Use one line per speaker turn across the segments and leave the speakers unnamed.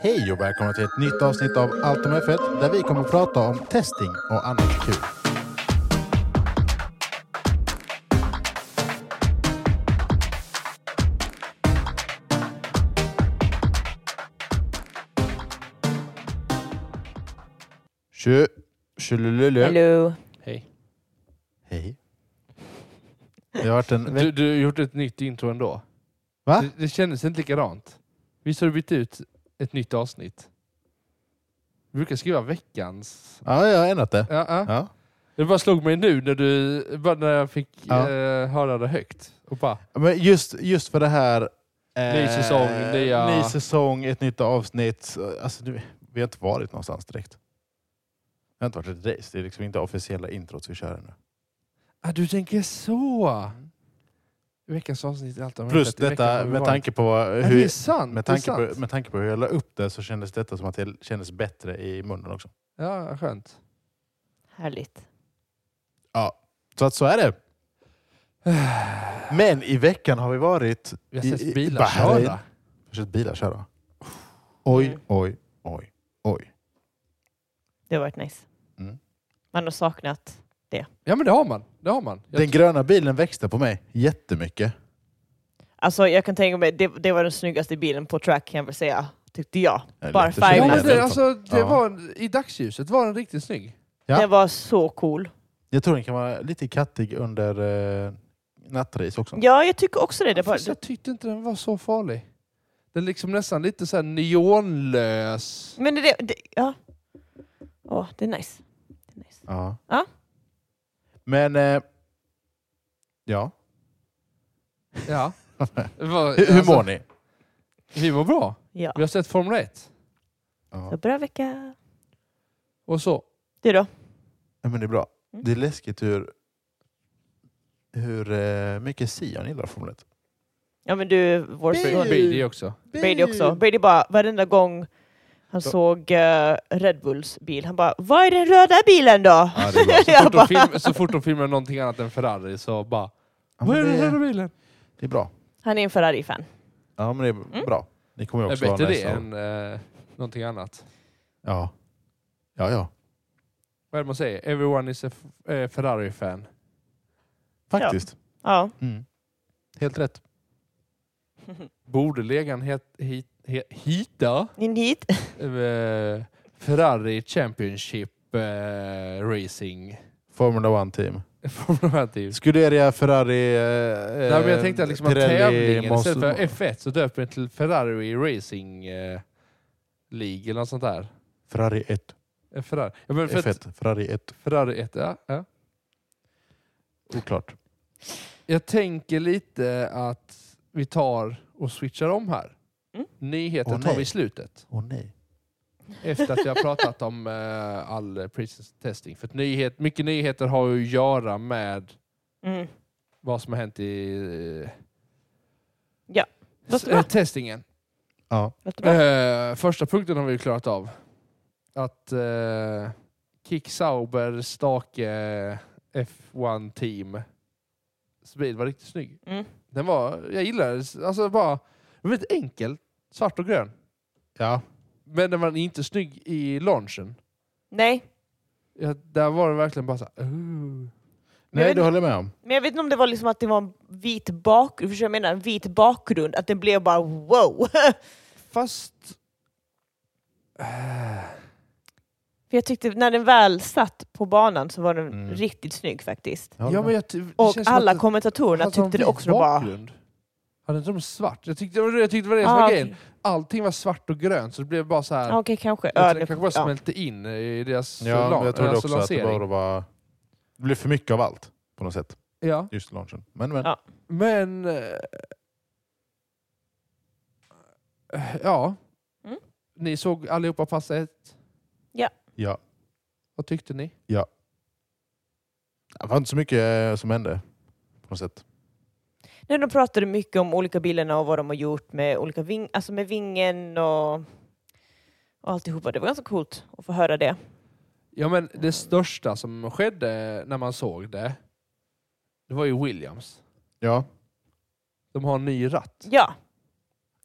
Hej och välkomna till ett nytt avsnitt av Allt om F1 där vi kommer att prata om testing och annat kul. Tjö, tjolululu.
Hello.
Hej.
Hej. Det har varit en
Du, du har gjort ett nytt intro ändå.
Va?
Det, det kändes inte likadant. Visst har du bytt ut ett nytt avsnitt? Du brukar skriva veckans...
Ja, jag har ändrat det.
Ja, ja.
Ja.
Det bara slog mig nu när, du, bara när jag fick
Ja.
eh, höra det högt. Och bara,
Men just, just för det här... eh,
Ny säsong, nya-
Ny säsong, ett nytt avsnitt. Alltså, du, vi har inte varit någonstans direkt. Det har inte varit ett race. Det är liksom inte officiella introt vi kör ännu.
ah, du tänker så! Veckans avsnitt är allt om
Mm. Plus
F1. I veckan har
detta,
vi
med
varit-
tanke, på
Ja, det är
hur,
sant!
med,
det
tanke
är sant.
på, med tanke på hur jag la upp det så kändes detta som att det kändes bättre i munnen också.
Ja, skönt.
Härligt.
Så att så är det. Men i veckan har vi varit...
Vi
I-
har
i
sett bilar
Bahrain.
köra.
Försökt bilar köra. Oj,
Mm.
oj, oj, oj.
Det har varit nice.
Mm.
Man har saknat.
Ja, men det har man. Det har man. Jag
Den gröna bilen växte på mig jättemycket.
Alltså jag kan tänka mig, det, det var den snyggaste bilen på track kan jag väl säga, tyckte jag.
Eller
Bara
lite
färgen.
Ja,
känner
men
jag
det,
den som.
alltså, det
Ja.
var, I dagsljuset var den riktigt snygg.
Ja.
Den var så cool.
Jag tror den kan vara lite kattig under eh, nattris också.
Ja, jag tycker också det. det var,
Fast jag tyckte inte den var så farlig. Den är liksom nästan lite så här neonlös.
men det, det, ja. Åh, det är nice. Det är nice.
Ja.
Ja.
Men... Eh, ja.
Ja. Det var-
Hur, hur
alltså,
mår ni?
Vi mår bra.
Ja.
Vi har sett Formel 1.
Så
Ja.
bra vecka.
Och så.
Du då?
Ja, Men det är bra.
Mm.
Det är läskigt hur, hur eh, mycket Sion gillar Formel 1.
Ja men du, vår son
Brady också.
Brady också. Brady bara, varenda gång han
Så-
såg eh, Red Bulls bil, han bara ”Vad är den röda bilen då?”
Ja, det är bra.
Jag
Så fort,
bara-
de film, så fort de filmar någonting annat än Ferrari så bara...
Ja,
Vad är
men
det här
det,
med bilen?
det är bra.
Han är en Ferrari-fan.
Ja, men det är
Mm.
bra. Ni kommer ju
Det är
också
bättre
vara
det
nästa år.
än eh, någonting annat.
Ja. Ja, ja.
Vad är det man säger? Everyone is a f- eh, Ferrari-fan.
Faktiskt.
Ja.
Mm. Helt rätt.
Borde legan het, hit, he- hita
In hit.
eh, Ferrari Championship eh, Racing?
Formula 1-team.
Formel 1 -team.
Scuderia, Ferrari... Eh,
Nej, men jag tänkte att, liksom att
Pirelli,
tävlingen
Monster-
istället för F1 så döper den till Ferrari Racing eh, League eller något sånt där.
Ferrari 1.
Eh, Ferrari. Ja, men för att
F1. Ferrari 1.
Ferrari 1, ja, ja.
Oklart.
Jag tänker lite att vi tar och switchar om här.
Mm.
Nyheten
Åh,
tar vi
nej.
i slutet.
Åh nej.
Efter att vi har pratat om eh, all pre-season testing. För att nyhet, mycket nyheter har ju att göra med
Mm.
vad som har hänt i eh,
Ja, låter bra.
eh, testingen.
Ja.
Låter bra.
Eh, första punkten har vi ju klarat av. Att eh, Kick Sauber Stake F1 Team bil var riktigt snygg.
Mm.
Den var, jag gillade den. Alltså bara, den var lite enkel. Svart och grön.
Ja.
Men den var inte snygg i launchen.
Nej,
Ja, där var den verkligen bara så här, "Ooh."
Men jag
Nej,
vet
det
inte-
håller jag med om.
men jag vet inte om det var liksom att det var en vit bakgrund, förstår du vad jag menar? En vit bakgrund, att det blev bara wow.
Fast... Eh,
För jag tyckte när den väl satt på banan så var den
Mm.
riktigt snygg faktiskt.
Jag håller
ja,
med.
men jag, ty- det
Och
känns som
alla
att det-
kommentatorerna
hade de
tyckte det
vit
också. de Bara,
bakgrund? Hade inte de svart? Jag tyckte, jag tyckte det var det som
ah,
var grejen.
okej,
allting var svart och grönt så det blev bara så här.
ah, okej, kanske.
jag
Ja,
tror
det-
det kanske bara
ja.
smälte in i deras
Ja,
lan-
men jag trodde
alltså
också att det
lansering.
bara var... Det blev för mycket av allt på något sätt.
Ja.
Just launchen. Men, men.
Ja.
Men... eh, Ja.
Mm.
Ni såg allihopa pass ett.
Ja.
Vad tyckte ni?
Det var inte så mycket eh, som hände på något sätt.
Nej, de pratade mycket om olika bilarna och vad de har gjort med, olika ving, alltså med vingen och, och alltihopa. Det var ganska coolt att få höra det.
Ja men
Mm.
det största som skedde när man såg det, det var ju Williams.
Ja.
De har en ny ratt.
Ja,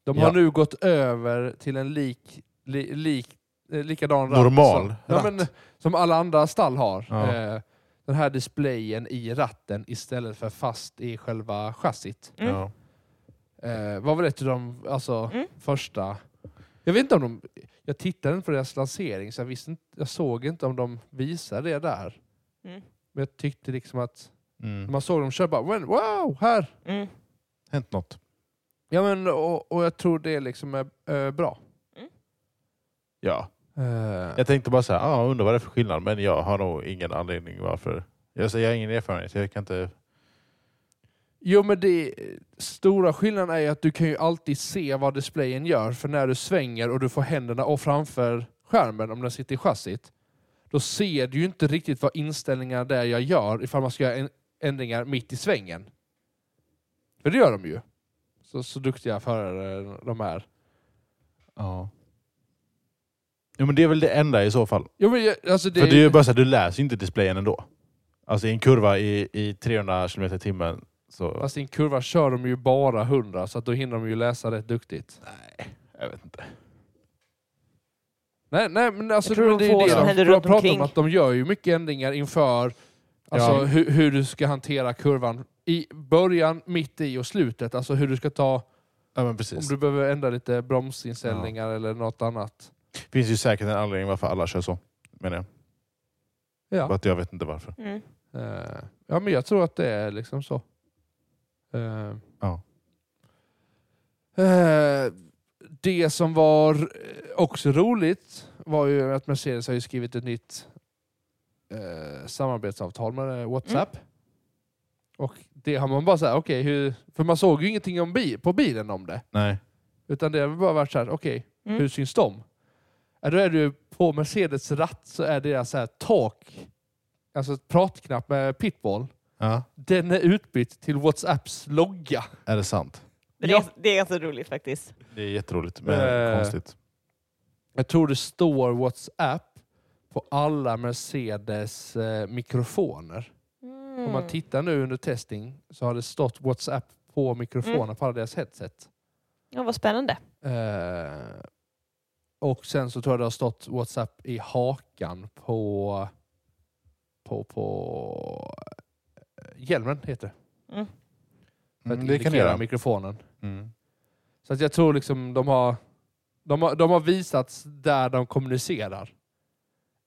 De
Ja.
har nu gått över till en lik, li, lik, eh, likadan ratt.
Normal
som, ja, men,
ratt.
som alla andra stall har.
Ja.
Eh, den här displayen i ratten istället för fast i själva chassit.
Mm.
ja.
Eh, vad var det till de alltså,
Mm.
första... Jag vet inte om de... Jag tittade inte på deras lansering så jag, visste inte, jag såg inte om de visade det där.
Mm.
Men jag tyckte liksom att när
Mm.
man såg dem köra bara "Men, wow, här!
mm.
Hänt något.
Ja, men, och, och jag tror det liksom är eh, bra.
Ja.
Eh,
Jag tänkte bara så här, ah, undrar vad det är för skillnad. Men jag har nog ingen anledning varför. Jag, säger, jag har ingen erfarenhet. Jag kan inte...
Jo men det stora skillnaden är ju att du kan ju alltid se vad displayen gör för när du svänger och du får händerna och framför skärmen om den sitter i chassit då ser du ju inte riktigt vad inställningarna där jag gör ifall man ska göra en- ändringar mitt i svängen. För det gör de ju. Så, så duktiga förare de är.
Ja. Jo, men det är väl det enda i så fall.
Jo, men jag, alltså det,
För det är ju bara så här, du läser ju inte displayen ändå. Alltså i en kurva i, i 300 km i timmen så...
Fast i en kurva kör de ju bara 100 så att då hinner de ju läsa rätt duktigt.
Jag vet inte.
Nej, nej men alltså
Jag tror
men
de
det är
får
ju det
som
de
händer
pra-
runt
pratar
omkring.
om. Att de gör ju mycket ändringar inför alltså,
Ja.
hur, hur du ska hantera kurvan i början, mitt i och slutet. Alltså hur du ska ta,
Ja, men
om
precis.
du behöver ändra lite bromsinställningar eller något annat.
Det finns ju säkert en anledning varför alla kör så. Menar jag. Bara
Ja.
att jag vet inte varför.
Mm.
Eh, ja, men jag tror att det är liksom så. Eh.
Ja.
Eh, det som var eh, också roligt var ju att Mercedes har ju skrivit ett nytt eh, samarbetsavtal med eh, WhatsApp. Och det har man bara såhär, okej, hur... för man såg ju ingenting om bi- på bilen om det.
Nej.
Utan det har väl bara varit såhär, okej,
Mm.
hur syns de? Ja, då är det ju på Mercedes ratt så är deras så här talk, alltså pratknapp med pitbull,
Ja.
den är utbytt till WhatsApps logga.
Är det sant?
Men
Ja.
det, är, det är ganska roligt faktiskt.
Det är jätteroligt men
Eh.
konstigt.
Jag tror det står WhatsApp på alla Mercedes eh, mikrofoner. Om
Mm.
man tittar nu under testing så har det stått WhatsApp på mikrofoner på alla deras headset.
Ja, vad spännande.
Eh, och sen så tror jag det har stått WhatsApp i hakan på på, på eh, hjälmen heter det.
Mm.
För att
Mm, det kan det
indikera
göra.
mikrofonen.
Mm.
Så att jag tror liksom de har, de har, de har visats där de kommunicerar.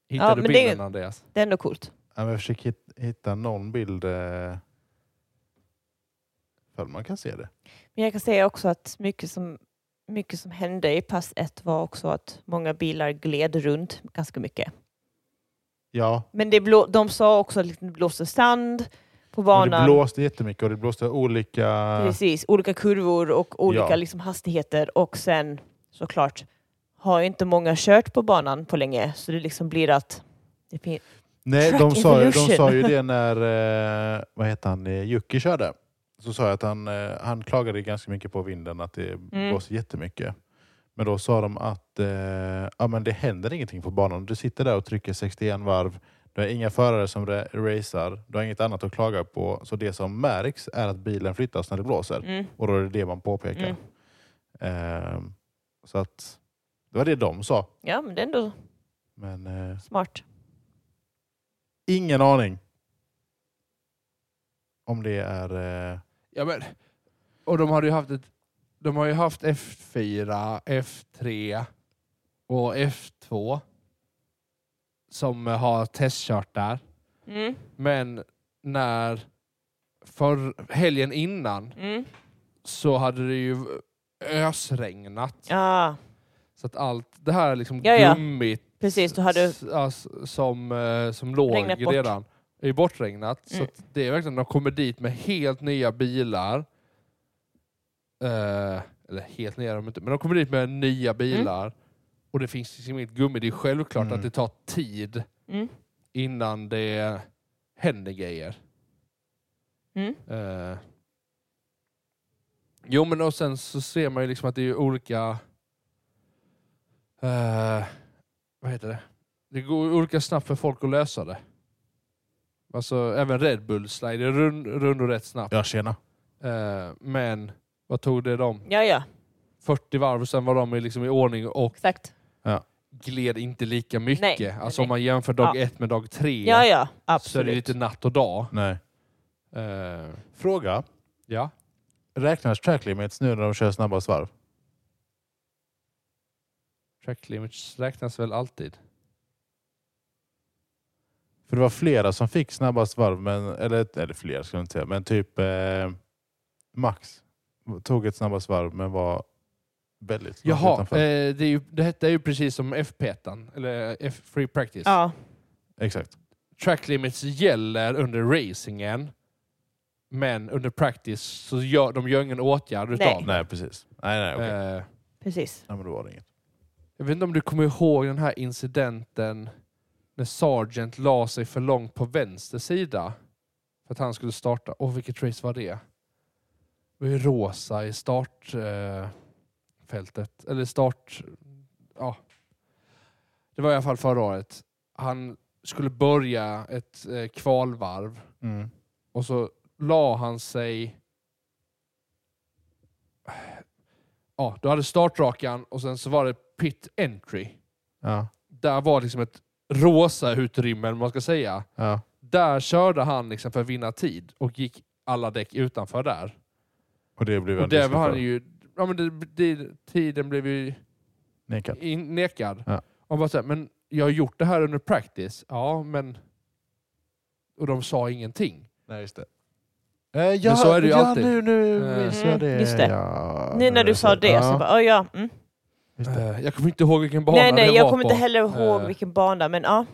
Hittar
Ja,
du
men det är-
bilden Andreas?
Det är ändå coolt.
Ja, men jag försöker hit- hitta någon bild. Eh... För man kan se det.
Men jag kan säga också att mycket som, mycket som hände i pass ett var också att många bilar gled runt ganska mycket.
Ja.
Men det blå, de sa också att det liksom blåste sand på
Men det
banan.
blåste jättemycket och det blåste olika...
Precis, olika kurvor och olika
Ja.
liksom, hastigheter. Och sen såklart har ju inte många kört på banan på länge så det liksom blir att... Det fin-
Nej,
Track
de sa, ju, de
evolution.
sa ju det när, eh, vad heter han, eh, Jocke körde. Så sa jag att han, eh, han klagade ganska mycket på vinden, att det
Mm.
blåser jättemycket. Men då sa de att eh, ja, men det händer ingenting på banan. Du sitter där och trycker 61 varv. Du har inga förare som ra- racear. Du har inget annat att klaga på. Så det som märks är att bilen flyttas när det blåser.
mm.
Och då är det det man påpekar. Eh, så att det var det de sa.
Ja, men det är ändå
Men eh,
smart.
Ingen aning. Om det är... Eh,
Ja, men, och de har ju haft ett, de har ju haft F4, F3 och F2 som har testkört där.
Mm.
Men när för helgen innan
Mm.
så hade det ju ösregnat.
Ja,
Så att allt det här liksom
Ja, ja.
gummit
precis. Du hade...
s- ass- som, eh, som låg
Regnat bort.
redan är ju bortregnat.
Mm.
Så att det är verkligen, de kommer dit med helt nya bilar. Eh, eller helt nya är de inte, men de kommer dit med nya
Mm.
bilar. Och det finns liksom inget gummi. Det är självklart
Mm.
att det tar tid
Mm.
innan det händer grejer.
Mm.
Eh. Jo men och sen så ser man ju liksom att det är ju olika... eh, vad heter det? Det går ju olika snabbt för folk att lösa det. Alltså även Red Bull slider rund, rund och rätt snabbt.
ja, tjena.
Eh, men vad tog det dem?
Ja, ja,
40 varv och sen var de liksom i ordning och
exakt.
gled inte lika mycket.
Nej,
alltså
nej.
om man jämför dag
Ja.
ett med dag tre
Ja, ja,
så är det
absolut.
lite natt och dag.
Nej.
Eh,
Fråga.
ja.
Räknas track limits nu när de kör snabbast varv?
Track limits räknas väl alltid?
För det var flera som fick snabbast varv, men, eller, eller flera ska jag inte säga, men typ eh, Max tog ett snabbast varv men var väldigt snabbt
Jaha,
utanför.
eh, det, är ju, det hette är ju precis som FP1, eller eh, F Free Practice.
Ja,
Exakt.
Track limits gäller under racingen, men under practice så gör de gör ingen åtgärd
Nej.
utav
Nej, precis. Nej, nej, okej.
Eh,
precis.
nej men då var det inget.
Jag vet inte om du kommer ihåg den här incidenten när Sargent la sig för långt på vänster sida för att han skulle starta. Åh, vilket race var det? Det var ju rosa i startfältet. Eh, fältet. Eller start... Ja. Det var i alla fall förra året. Han skulle börja ett eh, kvalvarv
Mm.
och så la han sig... Ja, du hade startrakan och sen så var det pit entry.
Ja,
Där var liksom ett rosa utrymme, eller vad man ska säga.
ja.
Där körde han liksom för att vinna tid och gick alla däck utanför där.
Och det blev
Och där var han ju... Ja, men det, det, tiden blev ju
nekad.
in, nekad.
Ja.
Och bara så här, men jag har gjort det här under practice. Ja, men... Och de sa ingenting.
Nej, just det. Eh, ja,
Men så är det ju
ja,
alltid.
nu, nu
Eh.
minns
Mm,
jag det.
just det.
Ja, alltså,
Nu när
är
du sa det så
Ja.
bara, oh, ja. Mm.
Just det.
Eh, Jag kommer inte ihåg vilken bana
Nej, nej,
det
jag
var
kommer
på.
inte heller ihåg
Eh,
vilken bana, men ja.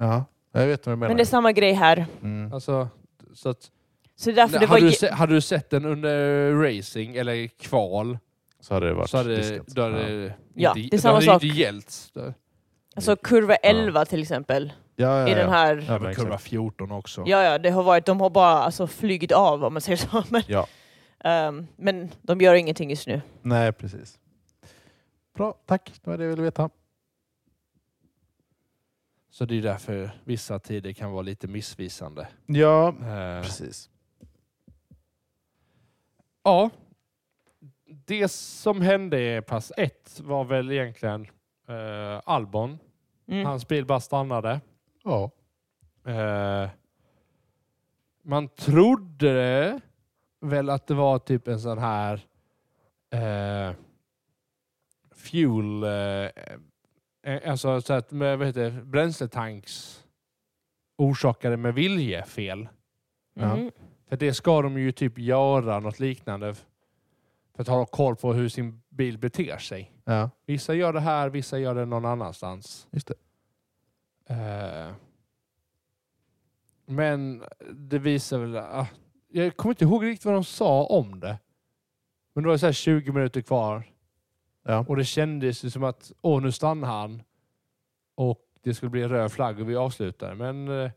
Ja, jag vet vad du menar.
Men det är samma grej här.
mm.
Alltså, så att,
Så det är därför Alltså, det var...
hade, du
ge-
se, hade du sett den under racing eller kval
Så hade det varit
så hade,
diskat.
då hade det
Ja,
inte,
det är
då
samma
hade
sak.
det inte gällt. Då-
Alltså kurva 11 till exempel,
ja, ja,
i
ja.
den här...
Ja, men
Kurva
exakt.
14 också.
Ja, ja, det har varit... De har bara alltså, flugit av om man säger så. Men,
Ja.
ehm, men de gör ingenting just nu.
Nej, precis. Bra, tack. Det var det jag ville veta.
Så det är därför vissa tider kan vara lite missvisande.
Ja,
Eh,
precis.
ja. Det som hände i pass 1 var väl egentligen eh, Albon.
Mm.
Hans bil bara stannade.
Ja.
Eh, man trodde väl att det var typ en sån här eh, fuel, eh, eh, alltså så att, med, vad heter det, bränsletanks orsakade med viljefel.
Mm.
För det ska de ju typ göra något liknande f- för att ha koll på hur sin bil beter sig.
ja.
Vissa gör det här, vissa gör det någon annanstans.
Just det.
Eh, men det visar väl... ah, jag kommer inte ihåg riktigt vad de sa om det. Men det var så här 20 minuter kvar
Ja.
och det kändes ju som att åh, nu stannar han och det skulle bli en röd flagg och vi avslutar. Men eh,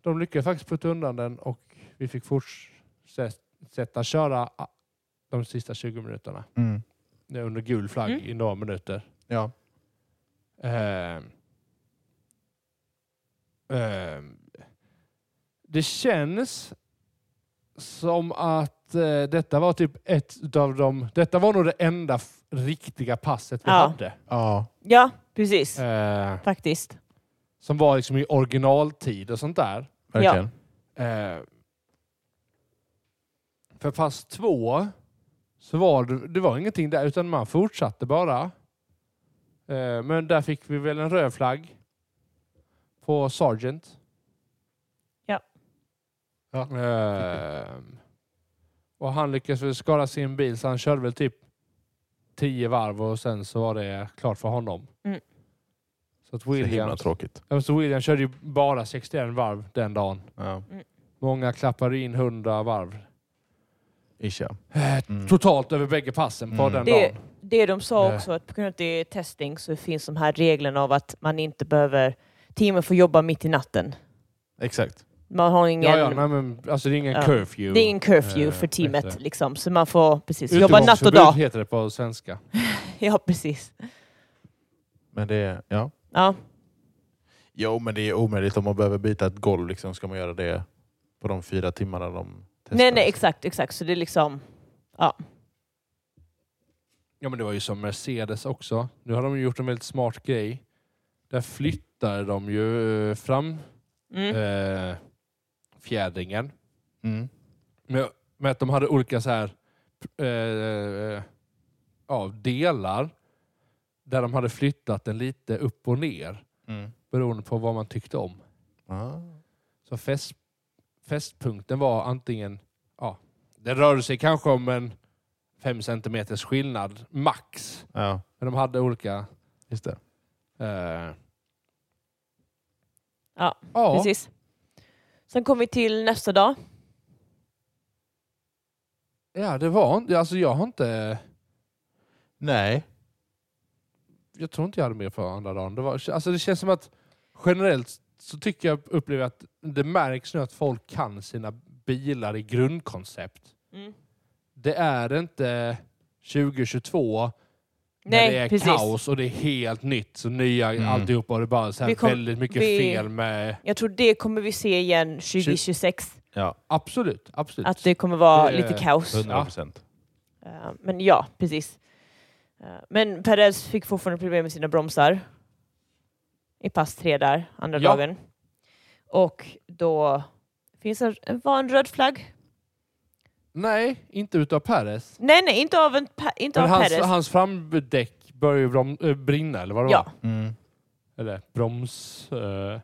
de lyckades faktiskt putta undan den och vi fick fortsätta köra ah, de sista 20 minuterna.
Mm.
Det är under gul flagg
Mm.
i några minuter.
Ja.
Ehm. Ehm. det känns som att eh, detta var typ ett av de... Detta var nog det enda f- riktiga passet vi
Ja.
hade.
Ja.
Ja, precis.
Ehm,
Faktiskt.
som var liksom i originaltid och sånt där.
Verkligen.
Eh, för pass två så var det, det var ingenting där utan man fortsatte bara. Eh, men där fick vi väl en röd flagg på Sargent.
Ja.
Ja.
Eh, och han lyckades väl skada sin bil så han körde väl typ tio varv och sen så var det klart för honom.
Mm.
Så att
Så himla
William,
tråkigt.
Ja, men så William körde ju bara 61 varv den dagen.
Ja.
Många klappade in 100 varv.
Ish, ja.
Eh,
Mm.
Totalt över bägge passen på
Mm.
den
Det-
dagen.
Det de sa
Eh.
också, att på grund av att det är testing så finns de här reglerna av att man inte behöver... Teamen får jobba mitt i natten.
Exakt.
Man har ingen...
Ja, ja, nej, men, alltså det är ingen
Ja.
curfew.
Det är ingen curfew
Eh,
för
just
teamet
det.
liksom, så man får precis jobba natt och
Utegångsförbud
dag.
heter det på svenska.
Ja, precis.
Men det är, ja.
Ja,
Jo, men det är omöjligt om man behöver byta ett golv. Liksom, ska man göra det på de fyra timmarna de
Nej, nej, exakt, exakt. Så det är liksom...
Ja men det var ju som Mercedes också. Nu har de ju gjort en väldigt smart grej. Där flyttar de ju eh, fram
Mm.
eh, fjädringen.
Mm.
Med, med att de hade olika så här eh, ja, delar. Där de hade flyttat den lite upp och ner.
Mm.
Beroende på vad man tyckte om.
Ah.
Så fäst, fästpunkten var antingen, ja, det rörde sig kanske om en fem centimeters skillnad max.
Ja,
Men de hade olika...
just det.
Eh,
Ja,
ja.
Precis. Sen kom vi till nästa dag.
Ja, det var inte... Alltså jag har inte...
Nej.
Jag tror inte jag hade mer för andra dagen. Det, var, alltså det känns som att generellt så tycker jag upplever att det märks nu att folk kan sina bilar i grundkoncept.
Mm.
Det är inte 2022 när det är
Nej, precis.
kaos och det är helt nytt. Så nya
Mm.
alltihopa och det är bara så här
Vi kom-
väldigt mycket
vi-
fel med...
Jag tror det kommer vi se igen 2026.
Ja,
Absolut, absolut.
Att det kommer vara
Det är-
lite kaos.
100 procent.
Eh, Men ja, precis. Eh, Men Perez fick fortfarande problem med sina bromsar i pass tre där, andra
Ja.
dagen. Och då finns en, var en röd flagg.
Nej, inte utav Perez.
Nej, nej, inte av, en, pa- inte av
Men hans,
Perez.
hans framdäck började ju brom, eh, brinna, eller vad det var?
ja,
Mm.
Eller broms... Eh,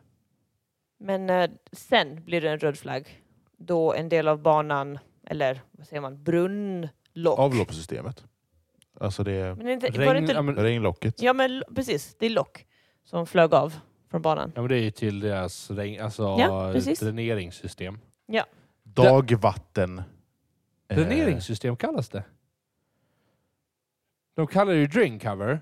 men eh, sen blir det en röd flagg då en del av banan, eller vad säger man, brunnlock.
Avloppssystemet. Alltså det
Men inte, var det
regn,
inte,
ja, men,
regnlocket.
ja, men lo- precis, det är lock som flög av från banan.
ja, men det är ju till deras regn, alltså,
Ja, precis.
dräneringssystem.
Dagvatten. Eh,
Dräneringssystem kallas det. De kallar det ju drain cover.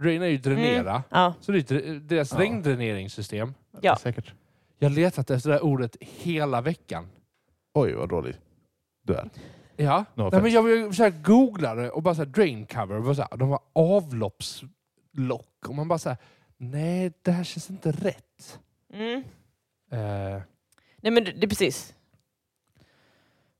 Drain är
Mm.
ju dränera.
Ja,
Så det är dr- deras
Ja.
regndräneringssystem.
Ja.
Säkert.
Jag har letat efter det här ordet hela veckan.
Oj, vad dåligt du är.
Ja.
No
Nej,
offense.
men jag har försökt googla det och bara så här, drain cover. Och bara så här, de har avloppslock. Och man bara så här, nej det här känns inte rätt.
mm.
Eh,
nej men det, det precis.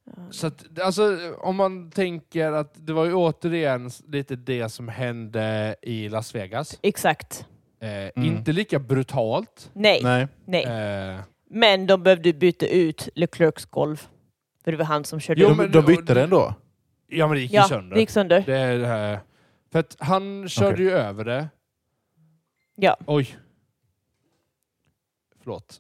Ja.
Så att, alltså, om man tänker att det var ju återigen lite det som hände i Las Vegas.
Exakt.
Eh,
Mm.
Inte lika brutalt.
Nej, nej.
Nej.
Eh,
Men de behövde byta ut LeClercs golv. För det var han som körde
Jo,
upp.
De,
men-
de bytte den då?
ja, men det gick ju
Ja,
sönder.
det gick sönder.
Det är, det här- för att han körde
Okej.
ju över det.
Ja.
Oj. Förlåt.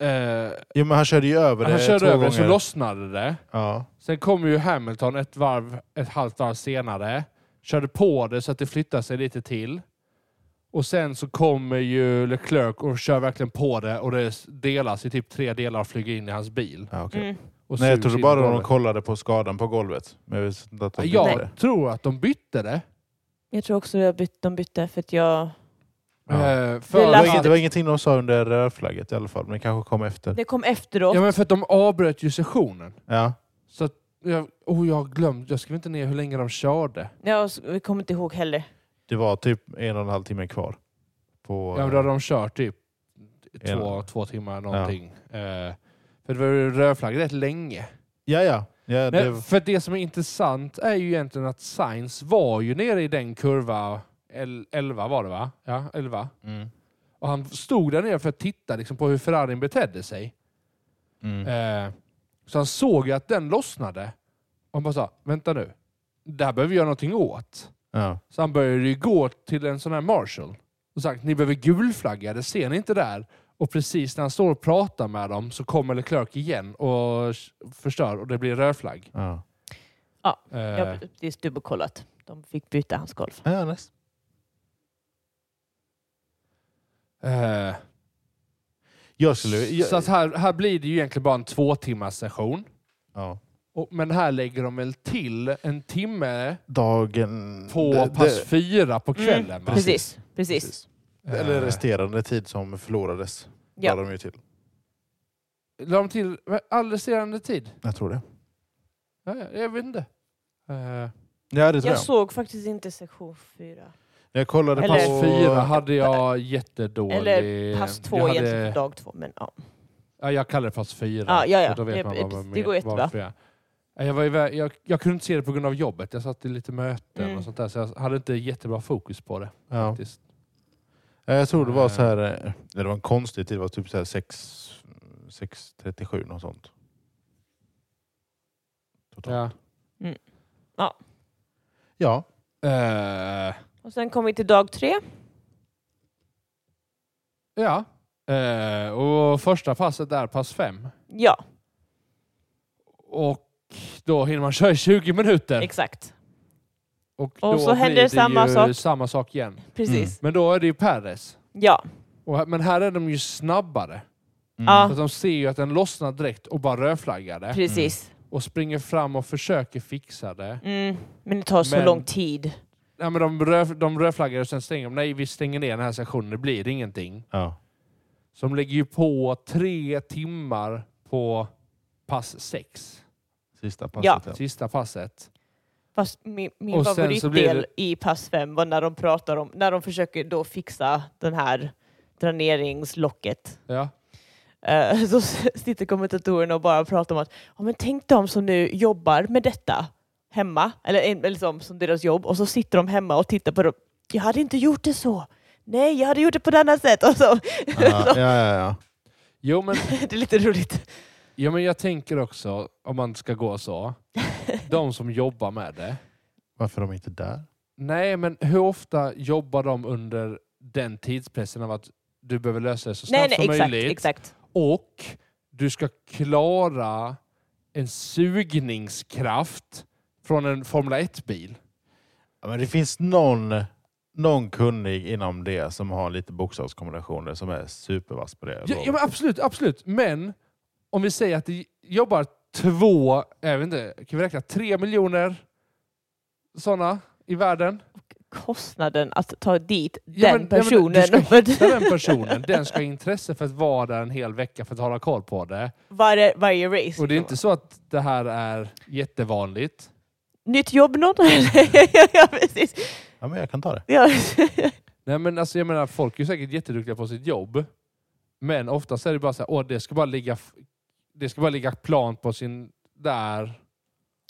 Eh,
Jo, men han körde ju över det
han körde
två
över
gånger.
det, så lossnade det.
ja.
Sen kom ju Hamilton ett varv, ett halvt varv senare. Körde på det så att det flyttade sig lite till. Och sen så kommer ju Leclerc och kör verkligen på det och det delas i typ tre delar och flyger in i hans bil.
Ja, okej.
Mm.
Och
Nej, jag
sugs
trodde
in i
bara de
golvet.
kollade på skadan på golvet. Men jag visste inte att de
Jag
bytte det.
tror att de bytte det.
Jag tror också jag bytt, de bytte för att jag...
Ja.
Eh,
Det
För
Det, var
lär-
att,
inget, det var ingenting de sa under rödflagget i alla fall, men det kanske kom efter.
Det kom efteråt.
ja, men för att de avbröt ju sessionen.
Ja.
Så att, jag, oh, jag har glömt, jag skrev inte ner hur länge de körde.
Jag s- jag kommer inte ihåg heller.
Det var typ en och en halv timme kvar. På,
Ja, men då hade de kört typ
En-
två, två timmar någonting. Eh, för det var ju rödflagg rätt länge.
ja, ja. ja
Nej,
det,
För det som är intressant är ju egentligen att Sainz var ju nere i den kurva, el- 11 var det va? Ja, 11.
mm,
Och han stod där nere för att titta liksom, på hur Ferrarin betedde sig.
mm.
Eh, så han såg ju att den lossnade. Och han bara sa, vänta nu, det här behöver vi göra någonting åt.
Ja.
Så han började ju gå till en sån här Marshall och sagt, ni behöver gulflagga, det ser ni inte där. Och precis när han står och pratar med dem så kommer Leclerc igen och förstör och det blir rödflagg.
Ja.
Eh,
Jag har precis dubbelkollat. De fick byta hans golv.
Ja, nice.
Eh,
Jag skulle... Jag,
så att här, här blir det ju egentligen bara en två timmars session.
ja.
Och, men här lägger de väl till en timme
Dagen...
på
det-
pass
det-
fyra
Mm.
på kvällen. va?
Precis. Precis.
Precis.
Eh,
Eller resterande tid som förlorades.
Ja.
Ja. de ju till.
La de till all resterande tid?
Jag tror det.
Ja, ja, jag vet inte. Eh,
Ja, det tror
Jag
jag.
såg faktiskt inte sektion fyra.
Jag kollade
Eller-
på...
Pass fyra hade jag jättedålig...
Eller pass två
jag
egentligen
hade,
för dag två. Men, ja.
Ja, jag kallar det fas 4.
Ja, ja, ja.
så Då vet
Ja,
man vad
precis.
man
Det går
men-
jättebra.
varför Jag, Ja, jag, var iväg, jag, jag kunde inte se det på grund av jobbet. Jag satt i lite möten
Mm.
och sånt där, så jag hade inte jättebra fokus på det.
Ja.
Faktiskt.
Ja, Jag tror det var så här, eh, det var en konstig tid, det var typ så här 6, 6.37 något sånt. Totalt.
Ja.
Ja.
Eh,
Och sen kom vi till dag tre.
ja. Eh, och första passet där, pass fem.
Ja,
Och då hinner man köra i 20 minuter.
exakt.
då
Och så händer
blir det
samma
ju
sak.
samma sak igen.
Precis.
Men då är det ju Perez.
Ja.
Och, här- men här är de ju snabbare.
Ja.
Mm.
Så att de ser ju att den lossnar direkt och bara rödflaggar det.
Precis.
Och springer fram och försöker fixa det.
Mm. Men det tar så
Men-
lång tid.
Ja, men de, röd, de rödflaggar och sen stänger de. Nej, vi stänger ner den här sessionen. Det blir ingenting.
Ja.
Så de lägger ju på tre timmar på pass sex.
Sista passet.
Ja.
Ja.
Sista passet.
Fast min, min
Och sen så blir
favoritdel
det-
i pass 5 var när de pratar om, när de försöker då fixa den här dräneringslocket.
Ja.
Eh, Så s- sitter kommentatorerna och bara pratar om att ja men tänk de som nu jobbar med detta hemma, eller en- eller liksom, som deras jobb, och så sitter de hemma och tittar på dem. Jag hade inte gjort det så. Nej, jag hade gjort det på ett annat sätt. Och så,
Ja, ja, ja.
Jo, men
det är lite roligt.
Ja, men jag tänker också, om man ska gå så, de som jobbar med det.
Varför är de inte där?
Nej, men hur ofta jobbar de under den tidspressen av att du behöver lösa det så
Nej,
snabbt
nej,
som
exakt,
möjligt
exakt.
och du ska klara en sugningskraft från en Formel 1-bil.
Ja, men det finns någon, någon kunnig inom det som har lite bokstavskombinationer som är supervass på det.
Ja, ja, men absolut, absolut. Men om vi säger att det jobbar två, jag vet inte, kan vi räkna tre miljoner sådana i världen?
Kostnaden att ta dit
Ja,
den
men- ja, men du
personen.
ska hitta den personen, den ska ha intresse för att vara där en hel vecka för att hålla koll på det.
varje, varje race.
Och det är inte så att det här är jättevanligt.
Nytt jobb någon? ja, precis.
Ja, men jag kan ta det.
Ja.
Nej men alltså jag menar, folk är ju säkert jätteduktiga på sitt jobb. Men oftast är det bara så här, åh det ska bara ligga, f- det ska bara ligga plan på sin där.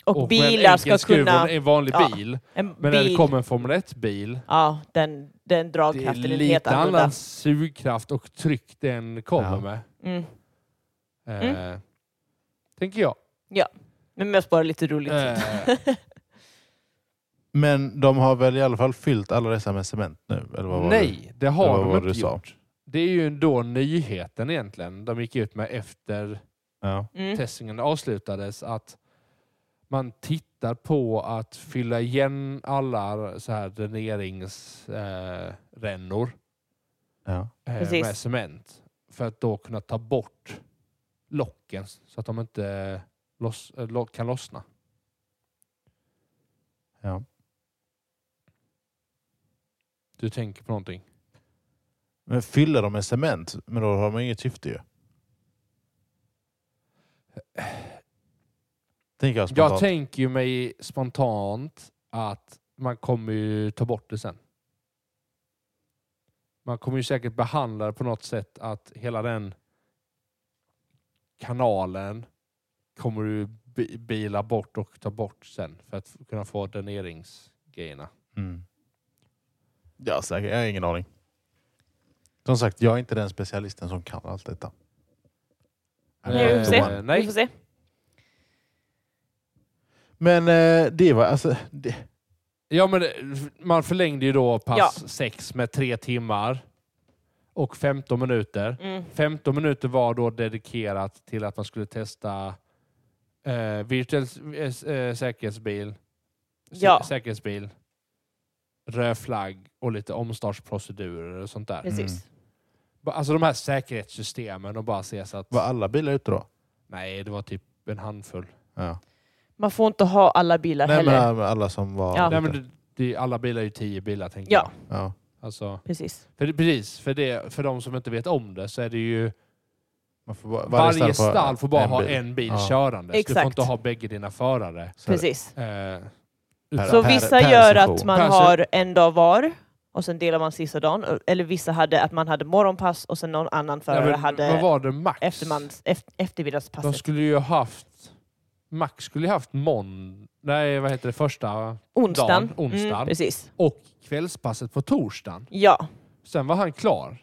Och
med en
bilar
enkel
ska
skruv och
kunna...
En vanlig
Ja,
bil.
En
Men när det
bil,
kommer en Formel 1-bil,
ja, den, den
det är
dragkraften är, helt
lite
annorlunda.
annan sugkraft och tryck den kommer
Ja.
med.
Mm.
Eh, Tänker jag.
Men mest bara lite roligt.
Eh,
Men de har väl i alla fall fyllt alla dessa med cement nu? Eller vad var det?
Nej, det har
vad
de
var
inte
det du sa?
gjort. Det är ju då nyheten egentligen de gick ut med efter
Ja.
Mm.
testningen avslutades att man tittar på att fylla igen alla så här dräneringsrännor eh, rännor,
Ja.
eh,
Precis.
med cement för att då kunna ta bort locken så att de inte loss, eh, lo- kan lossna.
Ja.
Du tänker på någonting?
Men fyller de med cement, men då har man inget syfte ju. Tänker jag
Jag
spontant.
tänker ju mig spontant att man kommer ju ta bort det sen. Man kommer ju säkert behandla det på något sätt att hela den kanalen kommer du bi- bila bort och ta bort sen för att kunna få dräneringsgrejerna.
Mm. Ja, säkert. Jag har ingen aning. Som sagt, jag är inte den specialisten som kan allt detta.
Nej, vi får se.
Eh,
Vi
nej.
får se.
Men eh, det var alltså... Det,
Ja, men eh, man förlängde ju då
Ja.
pass sex med tre timmar och 15 minuter.
Mm.
15 minuter var då dedikerat till att man skulle testa eh, virtuell s- eh, säkerhetsbil, sä-
Ja.
säkerhetsbil, röd flagg och lite omstartsprocedurer och sånt där.
Precis.
Ba- Alltså de här säkerhetssystemen och bara se så att...
var alla bilar ute då?
Nej, det var typ en handfull.
Ja.
Man får inte ha alla bilar
Nej,
heller.
men alla som var
Ja.
ute.
Nej, men det, det, alla bilar är ju tio bilar tänker
Ja.
jag.
Ja.
Alltså,
Precis.
för, det- precis, för, det, för de som inte vet om det så är det ju
Man får bara,
varje, stall får bara ha
bil.
en bil
Ja.
körande. Så du
Exakt.
får inte ha bägge dina förare.
Så är det.
Precis.
Eh,
Per-
Så
per-
vissa
per
gör
session.
att man
Per se-
har en dag var. och sen delar man sista dagen. Eller vissa hade att man hade morgonpass och sen någon annan
Nej,
förare
men Vad
hade
var det max?
eftermans, eft-
De
eftermiddagspasset.
skulle ju haft... Max skulle ju haft mån... Nej, vad heter det? Första
Onsdagen.
dagen, onsdagen.
Mm, precis.
och kvällspasset på torsdagen.
Ja.
Sen var han klar.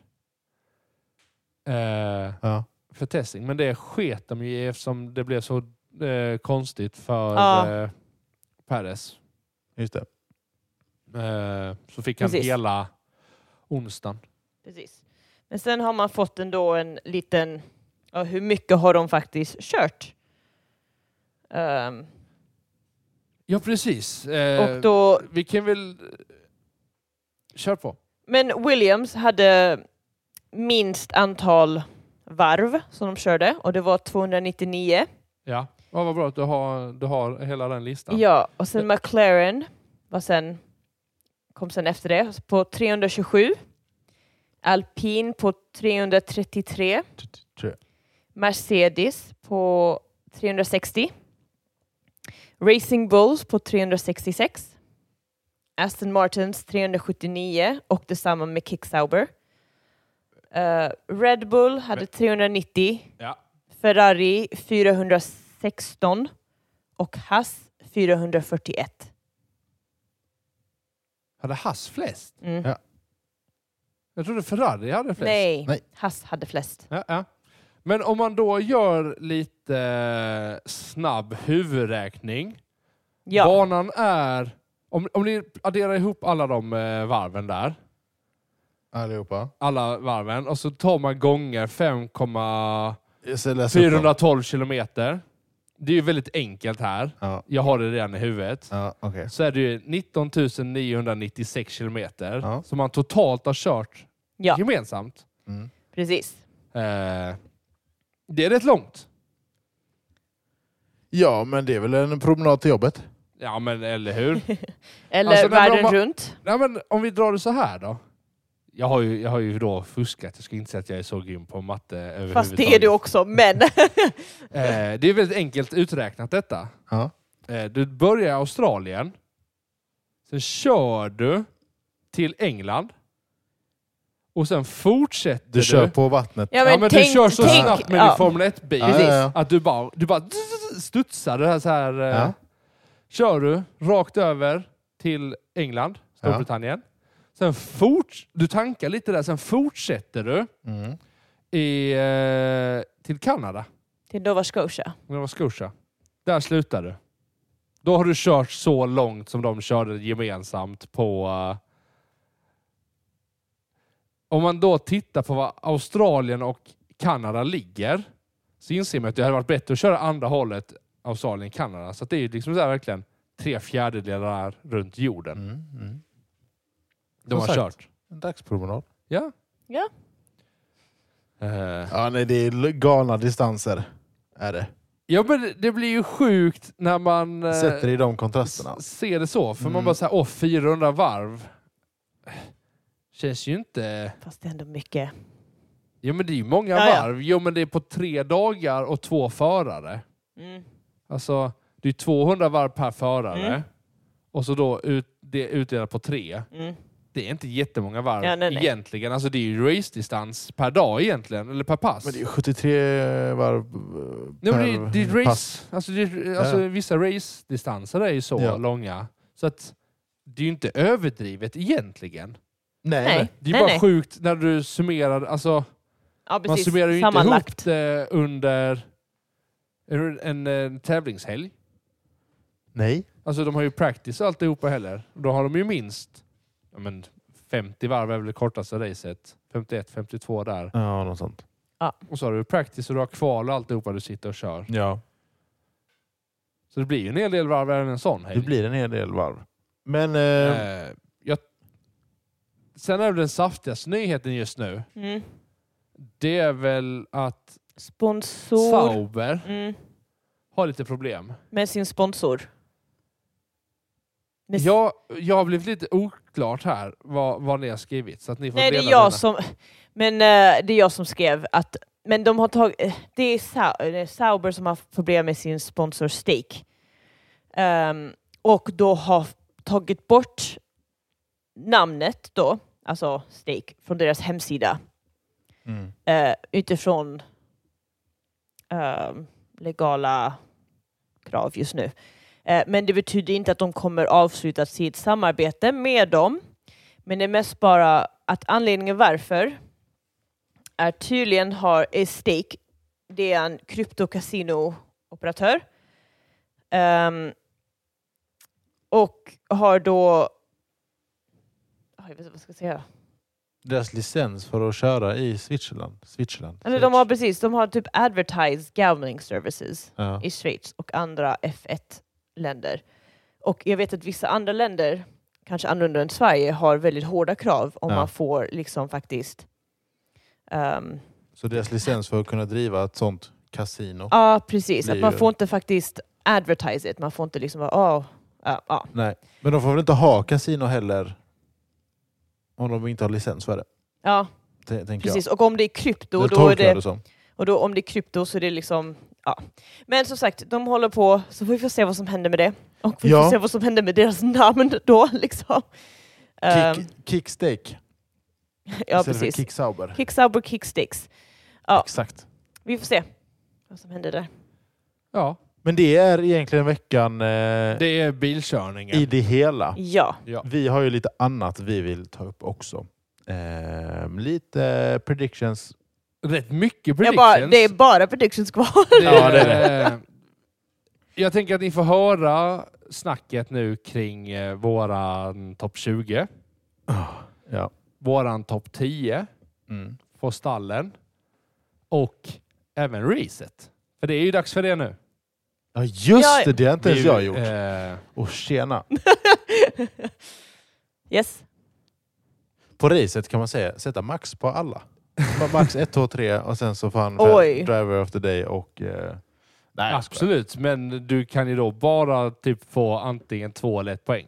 Eh,
Ja.
för testing. Men det sket de ju i eftersom det blev så eh, konstigt för
Ja.
eh, Perez.
Just det.
Eh, så fick han
Precis.
hela onsdagen.
Precis. Men sen har man fått ändå en liten, ja, hur mycket har de faktiskt kört? Ehm,
Ja, precis. Eh,
och då,
Vi kan väl... eh, Kör på.
men Williams hade minst antal varv som de körde och det var 299.
Ja. ja vad bra att du har, du har hela den listan.
Ja, och sen McLaren var sen, kom sen efter det på 327. Alpin på 333.
T- t- tre.
Mercedes på 360. Racing Bulls på 366. Aston Martins 379 och detsamma med Kicksauber. Uh, Red Bull hade
Men-
390.
Ja.
Ferrari 416 och Haas 441.
Hade Hass flest?
Mm.
Ja,
Jag trodde Ferrari hade flest.
Nej,
Nej.
Haas hade flest.
Ja, ja. Men om man då gör lite snabb huvudräkning.
Ja,
Banan är, om, om ni adderar ihop alla de eh, varven där,
Allihopa.
alla varven, och så tar man gånger 5,412
Jag ska läsa upp dem.
kilometer. Det är ju väldigt enkelt här.
Ja.
Jag har det redan i huvudet.
Ja, okej.
Så är det ju 19 996 kilometer
Ja.
som man totalt har kört
ja
gemensamt.
Mm.
precis.
Eh, det är rätt långt.
Ja, men det är väl en promenad till jobbet?
Ja, men eller hur?
Eller
Alltså, nej, men
världen
om man-
runt.
Nej, men om vi drar det så här då. Jag har ju, jag har ju då fuskat. Jag ska inte säga att jag är så grym på matte överhuvudtaget.
Fast det är du också, men...
Eh, det är väldigt enkelt uträknat detta.
Ja.
Eh, du börjar i Australien. Sen kör du till England. Och sen fortsätter
Du
du.
kör på vattnet.
Ja,
Ja,
men,
men
tänk,
du kör så
tänk,
snabbt med
ja,
din Formel 1-bil.
Ja, ja, ja.
Att du bara, du bara studsar. Det här, så här, eh,
Ja.
Kör du rakt över till England, Storbritannien. Sen fort, du tankar lite där, sen fortsätter du
Mm.
i, eh, till Kanada,
Till Nova Scotia.
Nova Scotia. Där slutar du. Då har du kört så långt som de körde gemensamt på... eh, om man då tittar på var Australien och Kanada ligger så inser man att det hade varit bättre att köra andra hållet Australien-Kanada. Så att det är ju liksom så här verkligen tre fjärdedelar runt jorden
Mm. Mm.
de har
Som sagt.
kört.
En dagspromenad.
Ja.
Ja.
Eh,
Ja, nej, det är l- galna distanser. Är det.
ja, men det- det blir ju sjukt när man eh,
Sätter i de kontrasterna.
s- ser det så. För
Mm.
man bara såhär, åh 400 varv. Känns ju inte...
Fast det är ändå mycket.
Jo men det är ju många
Ja, ja.
varv. Jo men det är på tre dagar och två förare.
Mm.
Alltså, det är 200 varv per förare.
Mm.
Och så då ut, det är utdelat på tre.
Mm.
Det är inte jättemånga varv
Ja, nej, nej.
egentligen. Alltså det är ju racedistans per dag egentligen, eller per pass.
Men det är ju 73 varv eh,
Nej, men
per
det, det är race,
pass.
alltså, det, alltså
Ja.
vissa race-distanser är ju så
Ja.
långa. Så att det är ju inte överdrivet egentligen.
Nej,
Nej.
nej.
Det är ju bara
nej.
sjukt när du summerar, alltså
Ja,
man
precis.
summerar ju inte ihop
Sammanlagt.
det under en, en, eh, tävlingshelg.
nej.
Alltså de har ju practice och alltihopa heller. Då har de ju minst ja, men 50 varv är väl det kortaste racet. 51, 52 där.
Ja, något sånt.
Och så har du practice och du har kval och alltihopa du sitter och kör.
Ja.
Så det blir ju en hel del varv även en sån
Det
helg.
blir en hel del varv. Men eh,
Eh, jag... Sen är det den saftigaste nyheten just nu.
Mm.
Det är väl att
Sponsor.
Sauber
Mm.
har lite problem.
Med sin sponsor. Med
Jag, jag har blivit lite oklart här vad, vad ni har skrivit. Så att ni får
Nej, det
dela
är jag
denna.
som... Men eh, det är jag som skrev att... Men de har tagit... eh, det, är Sau, det är Sauber som har haft problem med sin sponsor Stake. Ehm, och då har tagit bort namnet då, alltså Stake, från deras hemsida
Mm.
eh, utifrån ehm, legala krav just nu. Eh, men det betyder inte att de kommer avsluta sitt samarbete med dem. Men det är mest bara att anledningen varför är tydligen har är Stake, det är en kryptokasino-operatör, ehm, och har då... Jag vet inte vad jag ska säga.
Deras licens för att köra i Switzerland. Switzerland.
Eller de har precis, de har typ advertised gambling services
Ja.
i Schweiz och andra F1-länder. Och jag vet att vissa andra länder, kanske annorlunda än Sverige, har väldigt hårda krav om
Ja.
man får liksom faktiskt... ehm,
Så deras licens för att kunna driva ett sånt kasino.
ja, precis.
Det är
Att man
ju-
får inte faktiskt advertise it. Man får inte liksom vara... "Åh, ja, ja."
Nej, men de får väl inte ha kasino heller om de inte har licens för det.
ja,
t- Tänker
precis. Och om det är
jag.
krypto,
Det
då är
tolkar jag
det...
det som.
Och då om det är krypto så är det liksom... Ja. Men som sagt, de håller på, så vi får se vad som händer med det. Och vi
Ja.
får se vad som händer med deras namn då. Liksom. Ehm,
Kick, kickstake
ja,
istället
precis.
för kicksauber.
Kicksauber, kicksticks. Ja.
Exakt.
Vi får se vad som händer där.
Ja,
Men det är egentligen veckan eh,
det är bilkörningen.
i det hela.
Ja,
Vi har ju lite annat vi vill ta upp också. Ehm, lite predictions.
Rätt mycket
jag
predictions.
bara, det är bara predictions kvar.
Det- eh,
Ja, det
Jag tänker att ni får höra snacket nu kring eh, våran topp 20,
Ah, Ja.
våran topp 10
Mm.
på stallen och även reset. För det är ju dags för det nu.
ja, just
Ja,
det. Det har inte ens
Vi-
jag gjort.
eh,
Och tjena.
yes.
På racet kan man säga sätta max på alla. Bara max 1, 2, 3 och sen så fan
Oj.
driver of the day och... Eh, nej, jag skojar.
absolut, men du kan ju då bara typ få antingen två eller ett poäng.